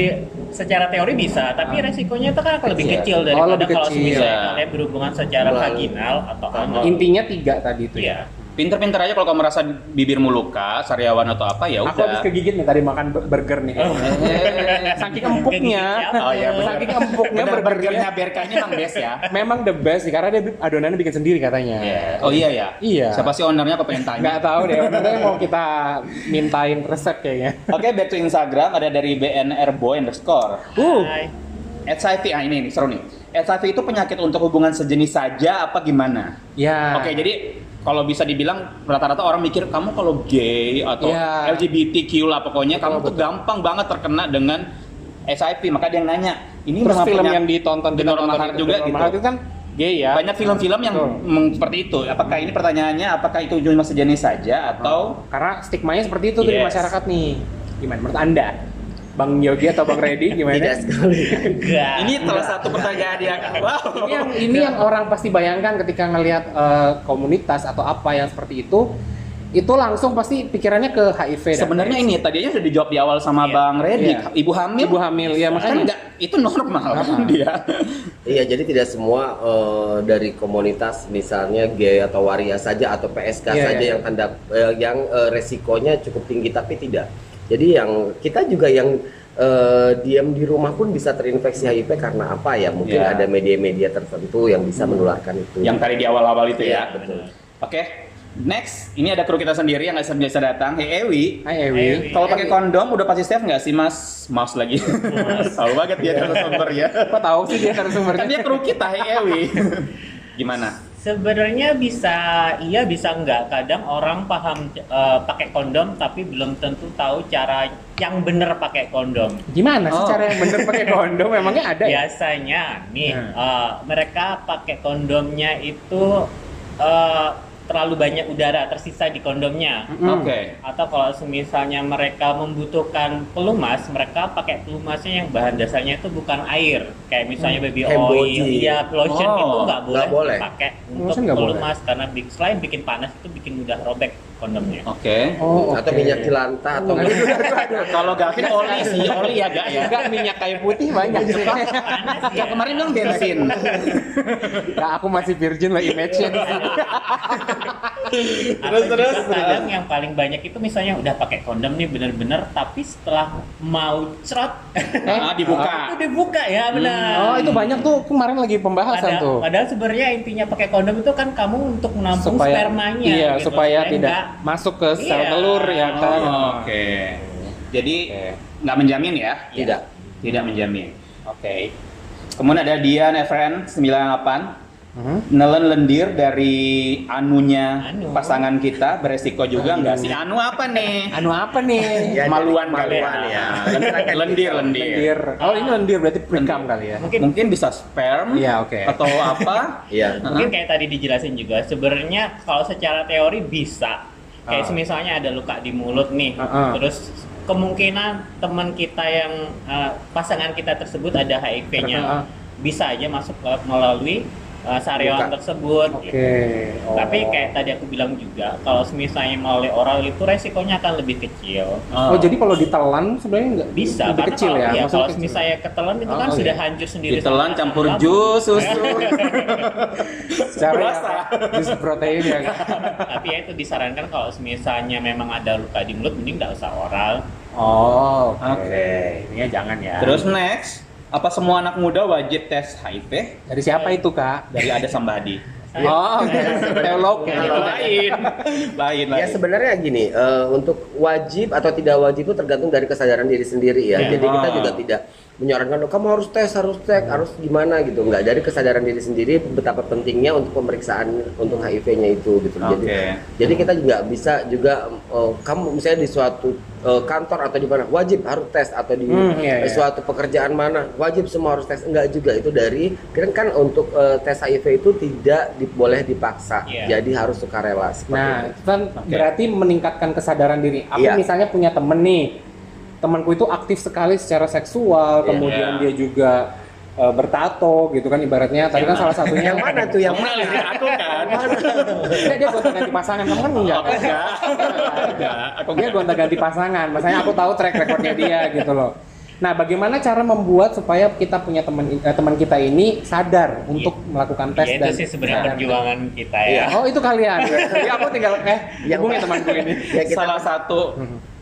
D: secara teori bisa, tapi resikonya itu kan akan lebih
C: Iya.
D: kecil
A: Oh,
D: daripada
A: lebih
D: kalau
A: kecil.
D: misalnya
B: Iya.
D: kalian berhubungan secara
C: Melalui-
D: vaginal atau anal.
A: Intinya tiga tadi itu
D: Oh. Iya.
A: ya.
B: Pinter-pinter aja kalau kamu merasa bibirmu luka, sariawan atau apa ya
A: Aku habis
B: udah.
A: kegigit nih tadi makan b- burger nih.
D: Oh.
B: Iya.
A: Eh, Saking empuknya.
D: Kegigit siapa?
B: Oh, iya, benar.
A: Saking empuknya
B: Benar burgernya
A: burgernya.
B: berkanya emang best ya.
A: Memang the best sih karena dia bi- adonannya bikin sendiri katanya.
B: Iya. Oh iya ya.
A: Iya.
B: Siapa sih ownernya aku pengen tanya.
A: Nggak tahu deh, sebenarnya mau kita mintain resep kayaknya.
B: Oke, back to Instagram ada dari BNRboy underscore.
A: Uh,
D: Hai.
B: HIV, ah ini, ini seru nih. HIV itu penyakit untuk hubungan sejenis saja apa gimana?
A: ya.
B: Oke, jadi kalau bisa dibilang rata-rata orang mikir kamu kalau gay atau
A: Ya.
B: LGBTQ lah pokoknya kamu
A: Betul,
B: tuh gampang banget terkena dengan HIV. Maka dia yang nanya, ini
A: terus
B: memang
A: film
B: punya-
A: yang ditonton
B: The
A: kita
B: Normal
A: nonton
B: Heart juga
A: The Normal
B: gitu.
A: Heart itu kan gay ya.
B: banyak film-film yang
A: Betul.
B: meng- seperti itu. Apakah ini pertanyaannya apakah itu cuma sejenis saja atau
A: Karena stigmanya seperti itu tuh di
B: Yes.
A: masyarakat nih. Gimana menurut Anda? Bang Yogi atau Bang Reddy gimana?
C: Tidak sekali.
D: Enggak.
B: ini salah satu pertanyaan yang wow.
A: ini yang ini yang orang pasti bayangkan ketika ngelihat eh, komunitas atau apa yang seperti itu itu langsung pasti pikirannya ke HIV dan
B: Sebenarnya
A: AIDS.
B: ini tadinya sudah dijawab di awal sama
D: Iya.
B: Bang Reddy,
A: Iya.
B: ibu hamil.
A: ibu hamil ya
B: kan
A: makanya
B: enggak itu normal kan
A: Normal.
B: dia.
C: Iya, jadi tidak semua eh, dari komunitas misalnya gay atau waria saja atau PSK
A: Iya,
C: saja
A: iya.
C: yang tanda eh, yang eh, resikonya cukup tinggi tapi tidak. Jadi yang kita juga yang eh, diam di rumah pun bisa terinfeksi HIV karena apa ya? Mungkin
B: Iya.
C: ada media-media tertentu yang bisa menularkan itu.
B: Yang tadi di awal-awal itu
C: Iya,
B: ya.
C: betul.
B: Oke. Next, ini ada kru kita sendiri yang nggak biasa datang. Hey Ewi,
A: Hai Ewi
D: Ewi.
B: kalau pakai kondom udah pasti safe nggak sih Mas? Mas lagi. Tahu banget dia narasumber ya.
A: kok tahu sih dia
B: Kan
A: narasumbernya
B: dia kru kita, Hey Ewi. Gimana?
D: Sebenarnya bisa iya bisa enggak. Kadang orang paham eh, pakai kondom tapi belum tentu tahu cara yang benar pakai kondom.
A: Gimana sih
B: Oh. Iya.
A: cara yang bener pakai kondom? Memangnya ada ya?
D: Biasanya nih
A: Hmm.
D: eh, mereka pakai kondomnya itu eh, terlalu banyak udara tersisa di kondomnya.
A: Mm.
B: Oke.
D: Atau kalau misalnya mereka membutuhkan pelumas, mereka pakai pelumasnya yang bahan dasarnya itu bukan air. Kayak misalnya
A: Hmm.
D: baby
C: Kayak
D: oil,
C: body.
D: iya lotion
B: Oh,
D: itu nggak boleh,
C: nggak boleh.
D: dipakai untuk
A: Lotion nggak boleh.
D: pelumas karena bi- selain bikin panas itu bikin mudah robek kondomnya.
B: Oke.
A: Oh, oke.
C: atau
A: Iya.
C: minyak jelanta atau
B: Kalau Gavin oli sih, oli ya gak ya?
A: Enggak minyak kayu putih banyak.
D: Panas
A: Iya,
B: Ya kemarin dong bensin.
A: Nah, aku masih virgin lah imagine.
D: terus terus kadang yang paling banyak itu misalnya udah pakai kondom nih bener-bener tapi setelah mau cerot
A: Eh?
B: Ah,
D: itu
B: dibuka.
D: dibuka ya benar.
A: Oh, itu banyak tuh kemarin lagi pembahasan
D: Padahal,
A: tuh.
D: padahal sebenarnya intinya pakai kondom itu kan kamu untuk menampung spermanya.
A: Iya,
D: gitu.
A: supaya tidak
D: nggak-
A: masuk ke sel
D: Iya.
A: telur ya kan.
B: Oh, Oke. Jadi nggak menjamin ya?
A: Iya.
C: tidak
B: Tidak menjamin. Oke. Kemudian ada Dian Efren 98
A: Mhm.
B: nelen lendir dari anunya
D: Anu.
B: pasangan kita beresiko juga nggak sih? Anu apa nih?
A: Anu apa nih?
C: Ya,
B: Kemaluan kali
C: kemaluan
B: ya.
C: ya.
B: Lendir, lendir, lendir.
A: lendir. Oh, ini lendir berarti prekam kali ya.
D: Mungkin
B: Mungkin bisa sperm
A: Iya, oke.
B: atau apa?
C: iya
D: mungkin kayak tadi dijelasin juga sebenarnya kalau secara teori bisa. Kayak
A: Ah.
D: semisalnya ada luka di mulut nih.
A: Ah, ah.
D: Terus kemungkinan teman kita yang eh, pasangan kita tersebut ada HIV-nya.
A: Ah, ah.
D: Bisa aja masuk ke- melalui eh, saluran
C: Luka.
D: tersebut.
A: Oke.
D: gitu.
A: Oh.
D: Tapi kayak tadi aku bilang juga, kalau misalnya melalui oral itu resikonya akan lebih kecil.
A: Oh, jadi kalau ditelan sebenarnya nggak
D: bisa
A: lebih
D: karena
A: kecil
D: kalau,
A: ya.
D: iya,
A: maksudnya
D: kalau
A: kecil.
D: misalnya ketelan itu
A: Oh,
D: kan
A: iya.
D: sudah hancur sendiri
B: ditelan
D: sama
B: campur
D: asam lambung.
B: jus, susu.
A: secara
B: Berasa.
A: ya, jus protein ya. kan?
D: tapi ya itu disarankan kalau misalnya memang ada luka di mulut mending nggak usah oral
A: Oh, oke.
B: Oke.
A: Ini jangan ya.
B: Terus next, apa semua anak muda wajib tes HIV
A: dari siapa itu, Kak?
B: dari ada somebody?
A: Oh, oke. Teolog
D: gitu.
A: ya.
C: Kalau-
B: lain, lain,
C: Ya
B: lain.
C: sebenarnya gini, eh, untuk wajib atau tidak wajib itu tergantung dari kesadaran diri sendiri
D: Ya.
C: ya.
A: Iya.
C: Jadi kita
B: Ah.
C: juga tidak menyarankan "Oh, kamu harus tes, harus cek,
A: Hmm.
C: harus gimana gitu. Enggak, dari kesadaran diri sendiri betapa pentingnya untuk pemeriksaan untuk HIV-nya itu gitu. Jadi
B: Oke.
C: jadi kita juga bisa juga eh, kamu misalnya di suatu eh, kantor atau di mana wajib harus tes atau di
A: Hmm, iya, iya.
C: suatu pekerjaan mana wajib semua harus tes enggak juga itu dari kan kan untuk eh, tes HIV itu tidak di- boleh dipaksa.
D: Iya.
C: Jadi harus sukarela seperti itu.
A: Nah, itu kan berarti meningkatkan kesadaran diri. Aku
C: Iya.
A: misalnya punya temen nih, temanku itu aktif sekali secara seksual,
C: Iya.
A: kemudian
B: Iya.
A: dia juga eh, bertato gitu kan ibaratnya. Tadi kan salah satunya
C: yang mana tuh yang
B: Kamu
C: mana?
B: nanya aku kan?
A: Enggak, dia gonta-ganti pasangan, kamu kan enggak kan?
B: Enggak. Enggak. Aku
A: Dia
B: enggak.
A: gonta-ganti pasangan, makanya aku tahu track recordnya dia gitu loh. Nah, bagaimana cara membuat supaya kita punya teman eh, teman kita ini sadar untuk melakukan tes
D: ya itu
A: dan
D: sih sebenarnya
A: sadar.
D: perjuangan kita ya
C: Iya.
A: Oh, itu kalian. Jadi aku tinggal eh
C: Yang-
A: hubungin temanku ini.
C: ya kita
B: Salah satu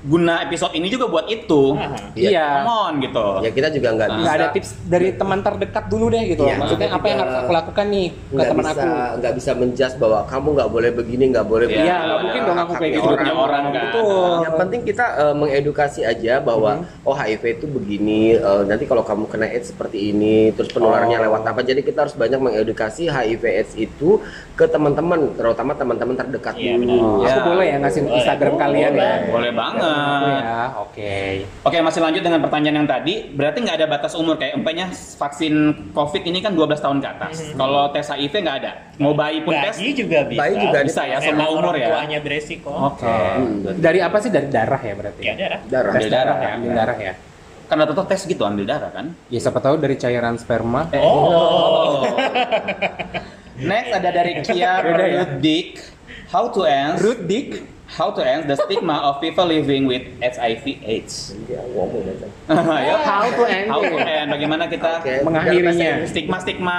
B: guna episode ini juga buat itu.
D: Aha.
C: Iya.
A: Iya.
B: Come on gitu.
C: ya kita juga nggak bisa
A: nggak ada tips dari teman terdekat dulu deh gitu loh.
C: Iya.
A: maksudnya apa yang harus aku lakukan nih ke
C: nggak
A: teman
C: bisa
A: aku
C: nggak bisa menjas bahwa kamu nggak boleh begini nggak boleh
B: Iya,
A: iya
C: begitu.
A: nggak
B: Nah,
A: mungkin dong aku
C: haknya
A: kayak gitu
B: orang. orang kan.
A: betul
C: yang penting kita eh, mengedukasi aja bahwa
A: Mhm.
C: oh HIV itu begini eh, nanti kalau kamu kena AIDS seperti ini terus penularannya
A: Oh.
C: lewat apa jadi kita harus banyak mengedukasi HIV AIDS itu ke teman-teman terutama teman-teman terdekat
D: Iya,
C: dulu
A: Oh,
C: Ya.
A: aku boleh ya ngasih
D: Boleh.
A: Instagram kalian ya
D: Boleh.
B: Boleh
A: Aku
B: banget.
A: ya oke
B: Oke, masih lanjut dengan pertanyaan yang tadi. Berarti nggak ada batas umur kayak empenya vaksin COVID ini kan 12 tahun ke atas. Kalau tes HIV nggak ada. Mau bayi pun tes.
D: bayi juga bisa
C: Bayi juga
B: bisa ya, semua
D: Memang
B: umur
D: orang
B: ya.
D: tuanya beresiko
B: Oke.
C: Hmm.
A: dari apa sih dari darah ya berarti
D: ya darah
C: darah
A: Tes
B: Ambil darah ya.
A: ambil darah ya
B: Karena tetap tes gitu ambil darah kan.
A: ya siapa tahu dari cairan sperma
B: Eh,
D: Oh.
B: Next ada dari Kia
A: Beda ya?
B: Rudik. How to end
A: root dick
B: How to end the stigma of people living with HIV AIDS.
C: Jadi, ya, ngomong aja.
B: Ayo.
A: how to end
B: How to
A: it?
B: end bagaimana kita
C: Oke,
A: Mengakhirinya.
C: biar bahasa
B: stigma-stigma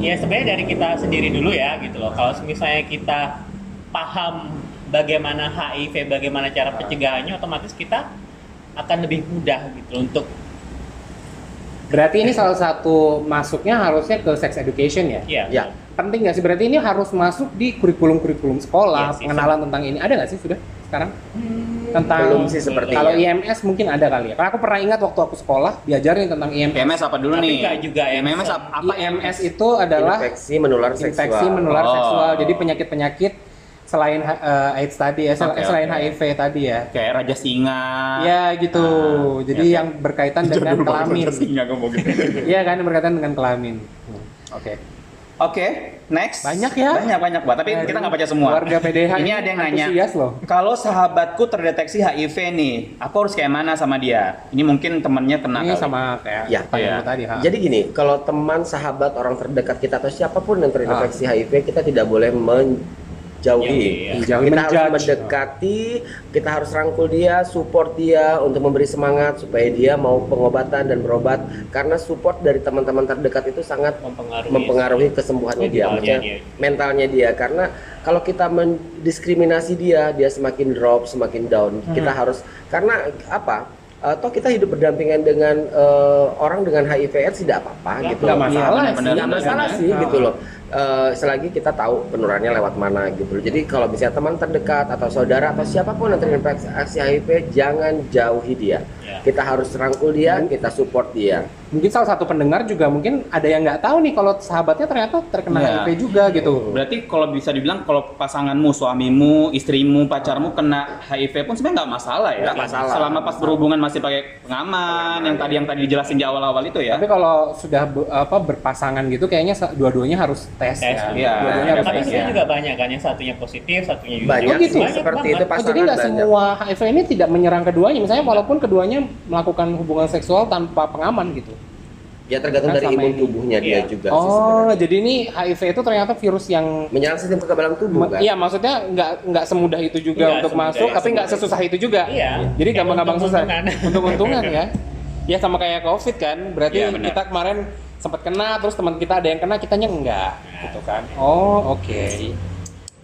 D: ya sebenarnya dari kita sendiri dulu ya gitu loh kalau misalnya kita paham bagaimana HIV bagaimana cara pencegahannya otomatis kita akan lebih mudah gitu loh untuk
A: berarti ini salah satu masuknya harusnya ke sex education ya
D: ya,
C: Inggris. ya
A: penting nggak sih berarti ini harus masuk di kurikulum kurikulum sekolah
D: Iya sih,
A: pengenalan tentang ini ada nggak sih sudah sekarang
D: Hmm,
A: tentang
C: Belum sih sepertinya.
A: kalau IMS mungkin ada kali ya. Karena aku pernah ingat waktu aku sekolah diajarin tentang IMS.
B: PMS apa dulu
D: Tapi
B: nih?
D: nggak juga ya.
B: PMS apa, apa
A: IMS itu adalah
C: infeksi menular seksual.
A: infeksi menular
B: Oh.
A: seksual. Jadi penyakit-penyakit selain eh, AIDS tadi ya, sel-
B: Oke,
A: selain
B: oke.
A: HIV tadi ya.
B: Kayak Raja Singa.
A: Ya gitu.
B: Ah,
A: Jadi
B: ya,
A: yang berkaitan dengan
B: Jadul banget
A: kelamin.
B: Raja Singa ngomong gitu.
A: Iya kan yang berkaitan dengan kelamin. Hmm, Oke.
B: Oke, next.
A: Banyak ya?
B: Banyak banyak buat. Tapi
A: Aduh,
B: kita nggak baca semua.
A: Warga PDH
B: Ini ada yang nanya.
A: antusias loh.
B: Kalau sahabatku terdeteksi HIV nih, aku harus kayak mana sama dia? Ini mungkin temennya kena
A: Ini
B: Nah, kali.
A: sama kayak
C: Ya,
A: pertanyaanmu
B: iya.
A: tadi. Ha.
C: Jadi gini, kalau teman, sahabat, orang terdekat kita atau siapapun yang terinfeksi HIV, kita tidak boleh menjauhi.
D: Menjauhi, ya.
A: Menjauhi,
C: kita harus
A: menjudge.
C: mendekati, kita harus rangkul dia, support dia untuk memberi semangat supaya dia mau pengobatan dan berobat. Karena support dari teman-teman terdekat itu sangat
D: mempengaruhi
C: mempengaruhi kesembuhannya dia,
D: Mentalnya
C: maksudnya
D: dia.
C: mentalnya dia. Karena kalau kita mendiskriminasi dia, dia semakin drop, semakin down. Kita harus karena apa? Eh, toh kita hidup berdampingan dengan eh, orang dengan HIV/AIDS tidak apa-apa
D: Nggak-
C: gitu.
A: nggak masalah
B: Iya,
A: sih.
B: benar-benar.
C: Nggak masalah
B: Benar.
C: sih gitu loh. Eh, selagi kita tahu penurannya lewat mana gitu loh. Jadi kalau misalnya teman terdekat atau saudara atau siapapun yang terinfeksi HIV, jangan jauhi dia.
D: Ya.
C: Kita harus rangkul dia, kita support dia.
A: Mungkin salah satu pendengar juga mungkin ada yang nggak tahu nih kalau sahabatnya ternyata terkena
B: Iya.
A: HIV juga gitu.
B: Berarti kalau bisa dibilang kalau pasanganmu, suamimu, istrimu, pacarmu kena HIV pun sebenarnya nggak masalah ya.
C: Nggak masalah.
B: Selama pas berhubungan masih pakai pengaman, yang tadi yang tadi dijelasin di awal-awal itu ya.
A: Tapi kalau sudah be- apa berpasangan gitu kayaknya sa- dua-duanya harus tes,
D: Tes,
A: ya.
B: iya.
A: Dua-duanya harus
D: tapi
A: tes.
D: sebenarnya
B: ya.
D: juga banyak kan yang satunya positif satunya juga
C: Banyak
A: gitu.
C: sih, seperti itu
A: Oh,
C: pasangan
A: jadi nggak
C: banyak.
A: semua HIV ini tidak menyerang keduanya. Misalnya walaupun keduanya melakukan hubungan seksual tanpa pengaman gitu.
C: Ya tergantung
A: Kan
C: dari
A: sama
C: imun
A: ini.
C: tubuhnya dia
D: Iya.
C: juga sih
A: Oh,
C: sebenarnya.
A: jadi ini HIV itu ternyata virus yang
C: Menyerang sistem kekebalan tubuh
A: Ma-
C: kan?
A: Iya, maksudnya nggak nggak semudah itu juga
D: Nggak
A: untuk
D: semudah,
A: masuk,
D: ya,
A: tapi nggak
D: semudah.
A: sesusah itu juga.
D: Iya.
A: Jadi
D: Kayak
A: gampang-gampang susah.
D: untung-untungan.
A: Untung-untungan ya. Ya sama kayak COVID kan, berarti
B: Iya, benar.
A: kita kemarin sempat kena, terus teman kita ada yang kena, kitanya enggak, gitu kan? Oh, oke.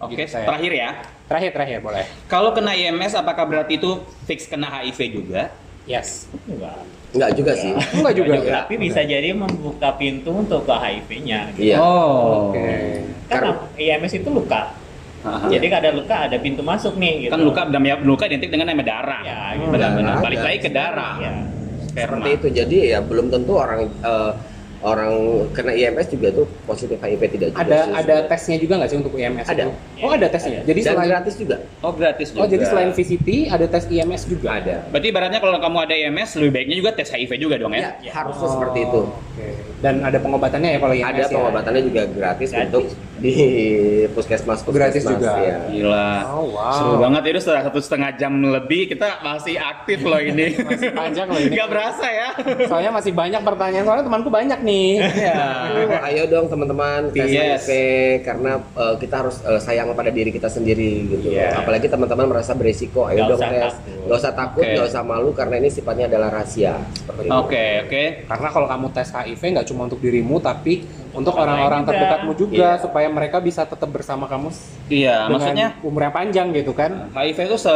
B: Oke,
A: Gitu, saya.
B: terakhir ya.
A: Terakhir, terakhir boleh.
B: Kalau kena IMS apakah berarti itu fix kena HIV juga?
A: Yes.
D: Enggak.
C: Enggak juga sih.
A: Enggak juga.
D: Enggak juga, tapi bisa jadi membuka pintu untuk ke HIV-nya gitu.
C: Iya.
B: Oh.
A: Oke.
D: Karena
C: Karena-
D: IMS itu luka.
B: Aha.
C: Iya.
D: Jadi ada luka ada pintu masuk nih gitu.
B: Kan luka dam ya, luka identik dengan nama darah.
D: Ya,
B: Hmm,
D: gitu.
B: benar-benar.
C: Darah
B: Balik
C: Iya, ada.
B: lagi
C: Iya,
B: ke darah.
D: Ya.
B: Sperma.
C: Seperti itu. Jadi ya belum tentu orang eh, orang kena IMS juga tuh positif HIV tidak juga.
A: Ada
C: sih
A: ada
C: sebenarnya.
A: tesnya juga nggak sih untuk IMS
C: Ada.
A: itu? Oh ada tesnya. Jadi
C: Dan
A: selain
C: gratis juga.
B: Oh, gratis juga.
A: oh jadi selain VCT ada tes IMS juga
C: Ada.
B: Berarti ibaratnya kalau kamu ada IMS lebih baiknya juga tes HIV juga dong
C: Ya,
B: ya?
D: Ya.
C: harusnya seperti itu.
A: Oh, Oke. Dan ada pengobatannya ya kalau IMS
C: Ada
A: ya?
C: pengobatannya juga gratis,
D: Gratis.
C: untuk di puskesmas puskesmas
A: Gratis juga.
C: ya.
B: Gila.
A: Oh, wow.
B: Seru banget itu setelah satu setengah jam lebih kita masih aktif loh ini.
A: Masih panjang loh ini.
B: Gak berasa ya.
A: Soalnya masih banyak pertanyaan, soalnya temanku banyak nih.
B: Iya.
C: Ayo, ayo dong teman-teman tes
B: Yes.
C: HIV, karena eh, kita harus eh, sayang pada diri kita sendiri gitu.
B: Iya.
C: Apalagi teman-teman merasa berisiko, ayo
D: Nggak
C: dong
D: usah
C: tes.
D: takut.
C: Gak usah takut,
B: Oke.
C: nggak usah malu karena ini sifatnya adalah rahasia. Seperti itu.
B: Oke, oke.
A: Karena kalau kamu tes HIV nggak cuma untuk dirimu, tapi untuk
D: orang
A: orang-orang
D: lain juga.
A: terdekatmu juga
C: Iya.
A: supaya mereka bisa tetap bersama kamu s-
B: Iya,
A: dengan
B: maksudnya
A: umur yang panjang gitu kan.
B: HIV itu se,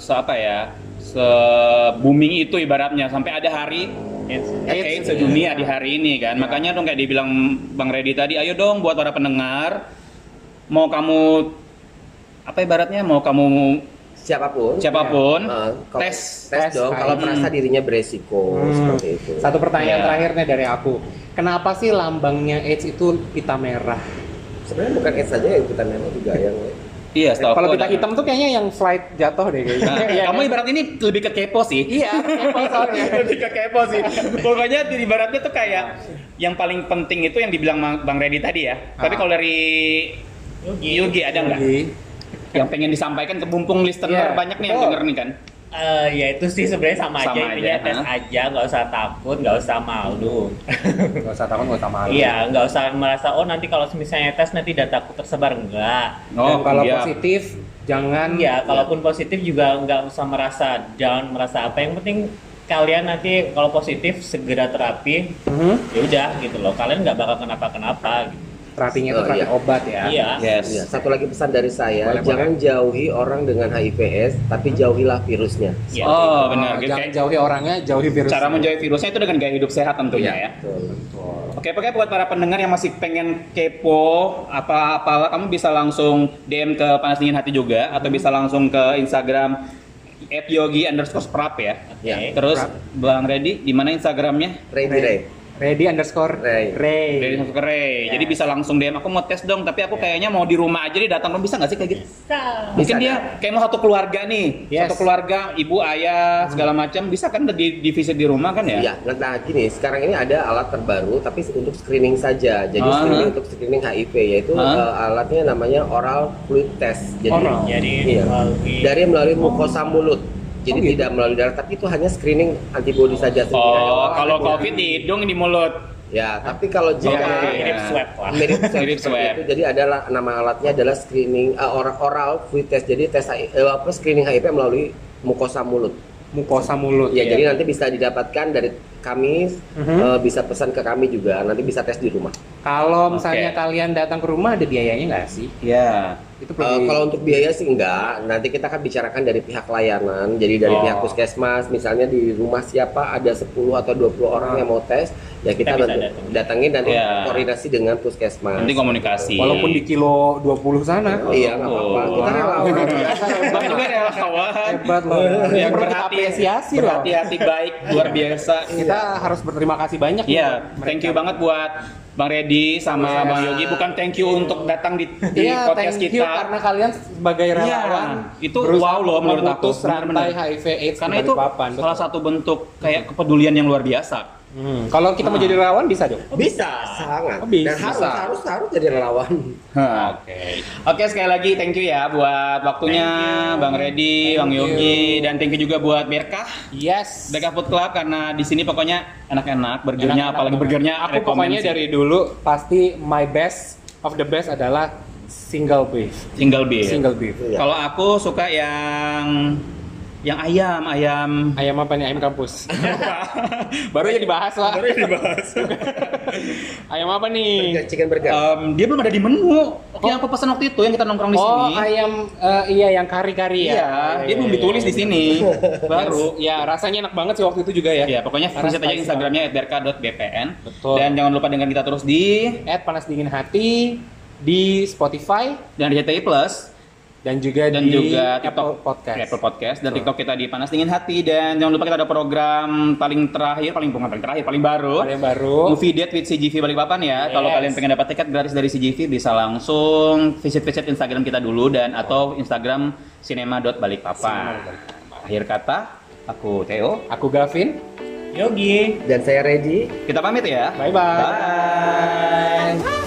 B: se apa ya? Se booming itu ibaratnya sampai ada hari
D: Yes.
B: AIDS
A: AIDS.
B: sedunia di hari ini
A: Iya.
B: kan. Makanya dong kayak dibilang Bang Reddy tadi, ayo dong buat para pendengar mau kamu apa ibaratnya mau kamu
C: Siapapun.
B: siapapun
A: Iya.
C: Eh, kalau-
B: tes
C: tes
A: Tes
C: dong kalau
B: HIV.
C: merasa dirinya beresiko
A: Hmm.
C: seperti itu.
A: Satu pertanyaan
B: Iya.
A: terakhir nih dari aku. Kenapa sih lambangnya AIDS itu pita merah?
C: Sebenarnya bukan AIDS saja yang kita memang juga yang
B: Iya, setahu
A: Kalau
B: aku
A: pita
B: ada-
A: hitam tuh kayaknya yang flight jatuh deh kayaknya.
B: Nah,
A: Iya
B: kamu
A: kan?
B: ibarat ini lebih ke kepo sih.
A: Iya, kepo soalnya.
B: lebih ke kepo sih. Ah, Pokoknya di ibaratnya tuh kayak yang paling penting itu yang dibilang Mang- Bang Reddy tadi ya. Tapi
A: Ah.
B: kalau dari
D: Yogi.
B: Yugi ada nggak?
A: Jadi,
B: Yang pengen disampaikan ke mumpung
A: Iya,
B: listener banyak nih yang
A: betul.
B: denger nih kan.
D: Eh, ya itu sih sebenarnya sama,
B: Sama
D: aja intinya
B: aja,
D: tes
B: ha?
D: aja nggak usah takut nggak usah malu
A: nggak usah takut, nggak usah malu.
D: iya nggak usah merasa oh nanti kalau misalnya tes nanti dataku tersebar enggak
A: Dan kalau
B: iya.
A: positif, jangan
D: Iya, kalaupun positif juga nggak usah merasa down, merasa apa. Yang penting kalian nanti kalau positif segera terapi,
A: Mhm.
D: ya udah gitu loh. Kalian nggak bakal kenapa-kenapa. Gitu.
A: terapinya itu
C: Oh,
A: terapi
C: iya.
A: obat ya.
D: Iya.
B: Yes.
C: Iya, satu lagi pesan dari saya,
A: Boleh,
C: jangan jauhi orang dengan HIV/AIDS,
B: Hmm.
C: tapi jauhilah virusnya.
D: Iya.
B: Oh,
A: Oh,
B: benar.
A: jangan
B: Kayak
A: jauhi orangnya, jauhi virus.
B: cara menjauhi virusnya itu dengan gaya hidup sehat tentunya ya.
C: Betul.
B: Oke, pokoknya buat para pendengar yang masih pengen kepo apa-apa, kamu bisa langsung DM ke Panas Dingin Hati juga atau bisa langsung ke Instagram at yogi underscore prap ya.
C: Ya.
D: Oke.
B: Terus
A: Prap.
B: Bang Reddy di mana Instagramnya?
C: Ready, Ray.
A: Ready underscore
C: Ray.
A: Ray.
B: Dari underscore Ray.
D: Ya.
B: Jadi bisa langsung DM aku mau tes dong, tapi aku kayaknya mau di rumah aja deh datang dong bisa nggak sih kayak gitu?
D: Bisa.
B: Mungkin
C: Bisa,
B: dia kayak mau satu keluarga nih,
A: Yes.
B: satu keluarga, ibu, ayah, segala macam bisa kan di divisi di rumah kan ya?
C: Iya, nah gini, sekarang ini ada alat terbaru tapi untuk screening saja. Jadi
B: Ah.
C: screening untuk screening HIV yaitu
B: Ah.
C: eh, alatnya namanya oral fluid test. Jadi
B: Oral.
D: Jadi
C: Iya.
D: melalui
C: dari melalui mukosa mulut. Jadi
B: Oh, gitu.
C: tidak melalui darah, tapi itu hanya screening antibodi saja.
B: Oh,
C: Oral
B: kalau
C: antibodi.
B: COVID di hidung di mulut.
C: Ya, tapi kalau jika
D: Oke,
B: Iya.
D: mirip swab lah.
C: mirip swab
B: Mirip
C: seperti
B: swab.
C: itu, jadi adalah nama alatnya adalah screening eh, oral, oral fluid test. Jadi tes eh, apa screening HIV melalui mukosa mulut.
A: Mukosa mulut.
C: Ya,
B: Iya.
C: jadi nanti bisa didapatkan dari kami, eh, bisa pesan ke kami juga. Nanti bisa tes di rumah.
A: Kalau misalnya
B: Oke.
A: kalian datang ke rumah ada biayanya nggak sih?
B: Iya.
A: Itu
C: Eh,
A: perlu.
C: kalau untuk biaya sih enggak. Nanti kita akan bicarakan dari pihak layanan. Jadi dari
B: Oh.
C: pihak puskesmas, misalnya di rumah siapa ada 10 atau 20 orang yang mau tes, ya
D: Kita
C: kita,
D: bisa
C: nanti
D: datang.
C: datangin dan
B: Iya.
C: koordinasi dengan puskesmas.
B: Nanti komunikasi.
A: walaupun di kilo 20 sana.
C: Iya, nggak apa-apa.
B: Oh.
C: Kita relawan.
B: Bang juga relawan.
A: Hebat loh.
B: Ya,
A: Perlu kita
B: berhati,
A: apresiasi loh.
B: berhati-hati baik, luar biasa.
A: Kita harus berterima kasih banyak.
B: Iya,
A: loh.
B: thank you banget buat Bang Reddy sama
A: Iya.
B: Bang Yogi. Bukan thank you untuk datang di, di
A: Iya,
B: podcast
A: thank you
B: kita.
A: karena kalian sebagai
B: Iya,
A: relawan
B: itu
A: berusaha
B: wow loh menurut aku.
A: memutus rantai
B: Benar-benar.
A: HIV AIDS
B: Karena
A: dari
B: itu
A: papan.
B: salah satu bentuk kayak kepedulian yang luar biasa.
A: Hmm, Kalau kita mau jadi relawan bisa dong.
C: Oh, Bisa, sangat.
A: Oh, bisa.
C: Dan harus, harus, harus jadi relawan.
B: Nah, Oke. Oke, sekali lagi thank you ya buat waktunya Bang Reddy, Bang Yogi dan thank you juga buat Berkah
A: Yes.
B: Berkah Food Club karena di sini pokoknya enak-enak burgernya
A: Enak-enak
B: apalagi
A: banget.
B: burgernya
A: aku pokoknya dari dulu pasti my best of the best adalah single beef.
B: single beef.
A: Single beef.
C: Iya.
B: Kalau aku suka yang yang ayam, ayam.
A: Ayam apa nih? Ayam kampus. Baru aja dibahas lah.
B: Baru yang dibahas.
A: Ayam apa
C: Burger,
A: nih?
C: Chicken burger.
B: Em, dia belum ada di menu. Oke, yang aku pesan waktu itu yang kita nongkrong di
A: Oh,
B: sini.
A: ayam eh, iya yang kari-kari
B: Iya,
A: ya.
B: dia belum
A: iya,
B: ditulis di sini. Baru.
A: Baru ya rasanya enak banget sih waktu itu juga ya.
B: Ya, pokoknya
A: Karena
B: visit aja
A: spicy
B: Instagramnya @berka.bpn.
A: Betul.
B: Dan jangan lupa dengar kita terus di
A: banget. At panas dingin hati di Spotify
B: dan di RCTI Plus
A: dan juga
B: dan
A: di
B: juga
A: Apple
B: TikTok
A: Podcast.
B: Apple Podcast dan TikTok kita di Panas Dingin Hati dan jangan lupa kita ada program paling terakhir paling bukan paling terakhir paling baru.
A: Ada yang baru.
B: Movie date with CGV Balikpapan ya.
A: Yes.
B: Kalau kalian pengen dapat tiket gratis dari CGV bisa langsung visit-visit Instagram kita dulu dan atau Instagram cinema.balikpapan. Akhir kata, aku Theo.
A: Aku Gavin.
D: Yogi.
C: Dan saya Ready.
B: Kita pamit ya.
A: Bye-bye.
B: Bye.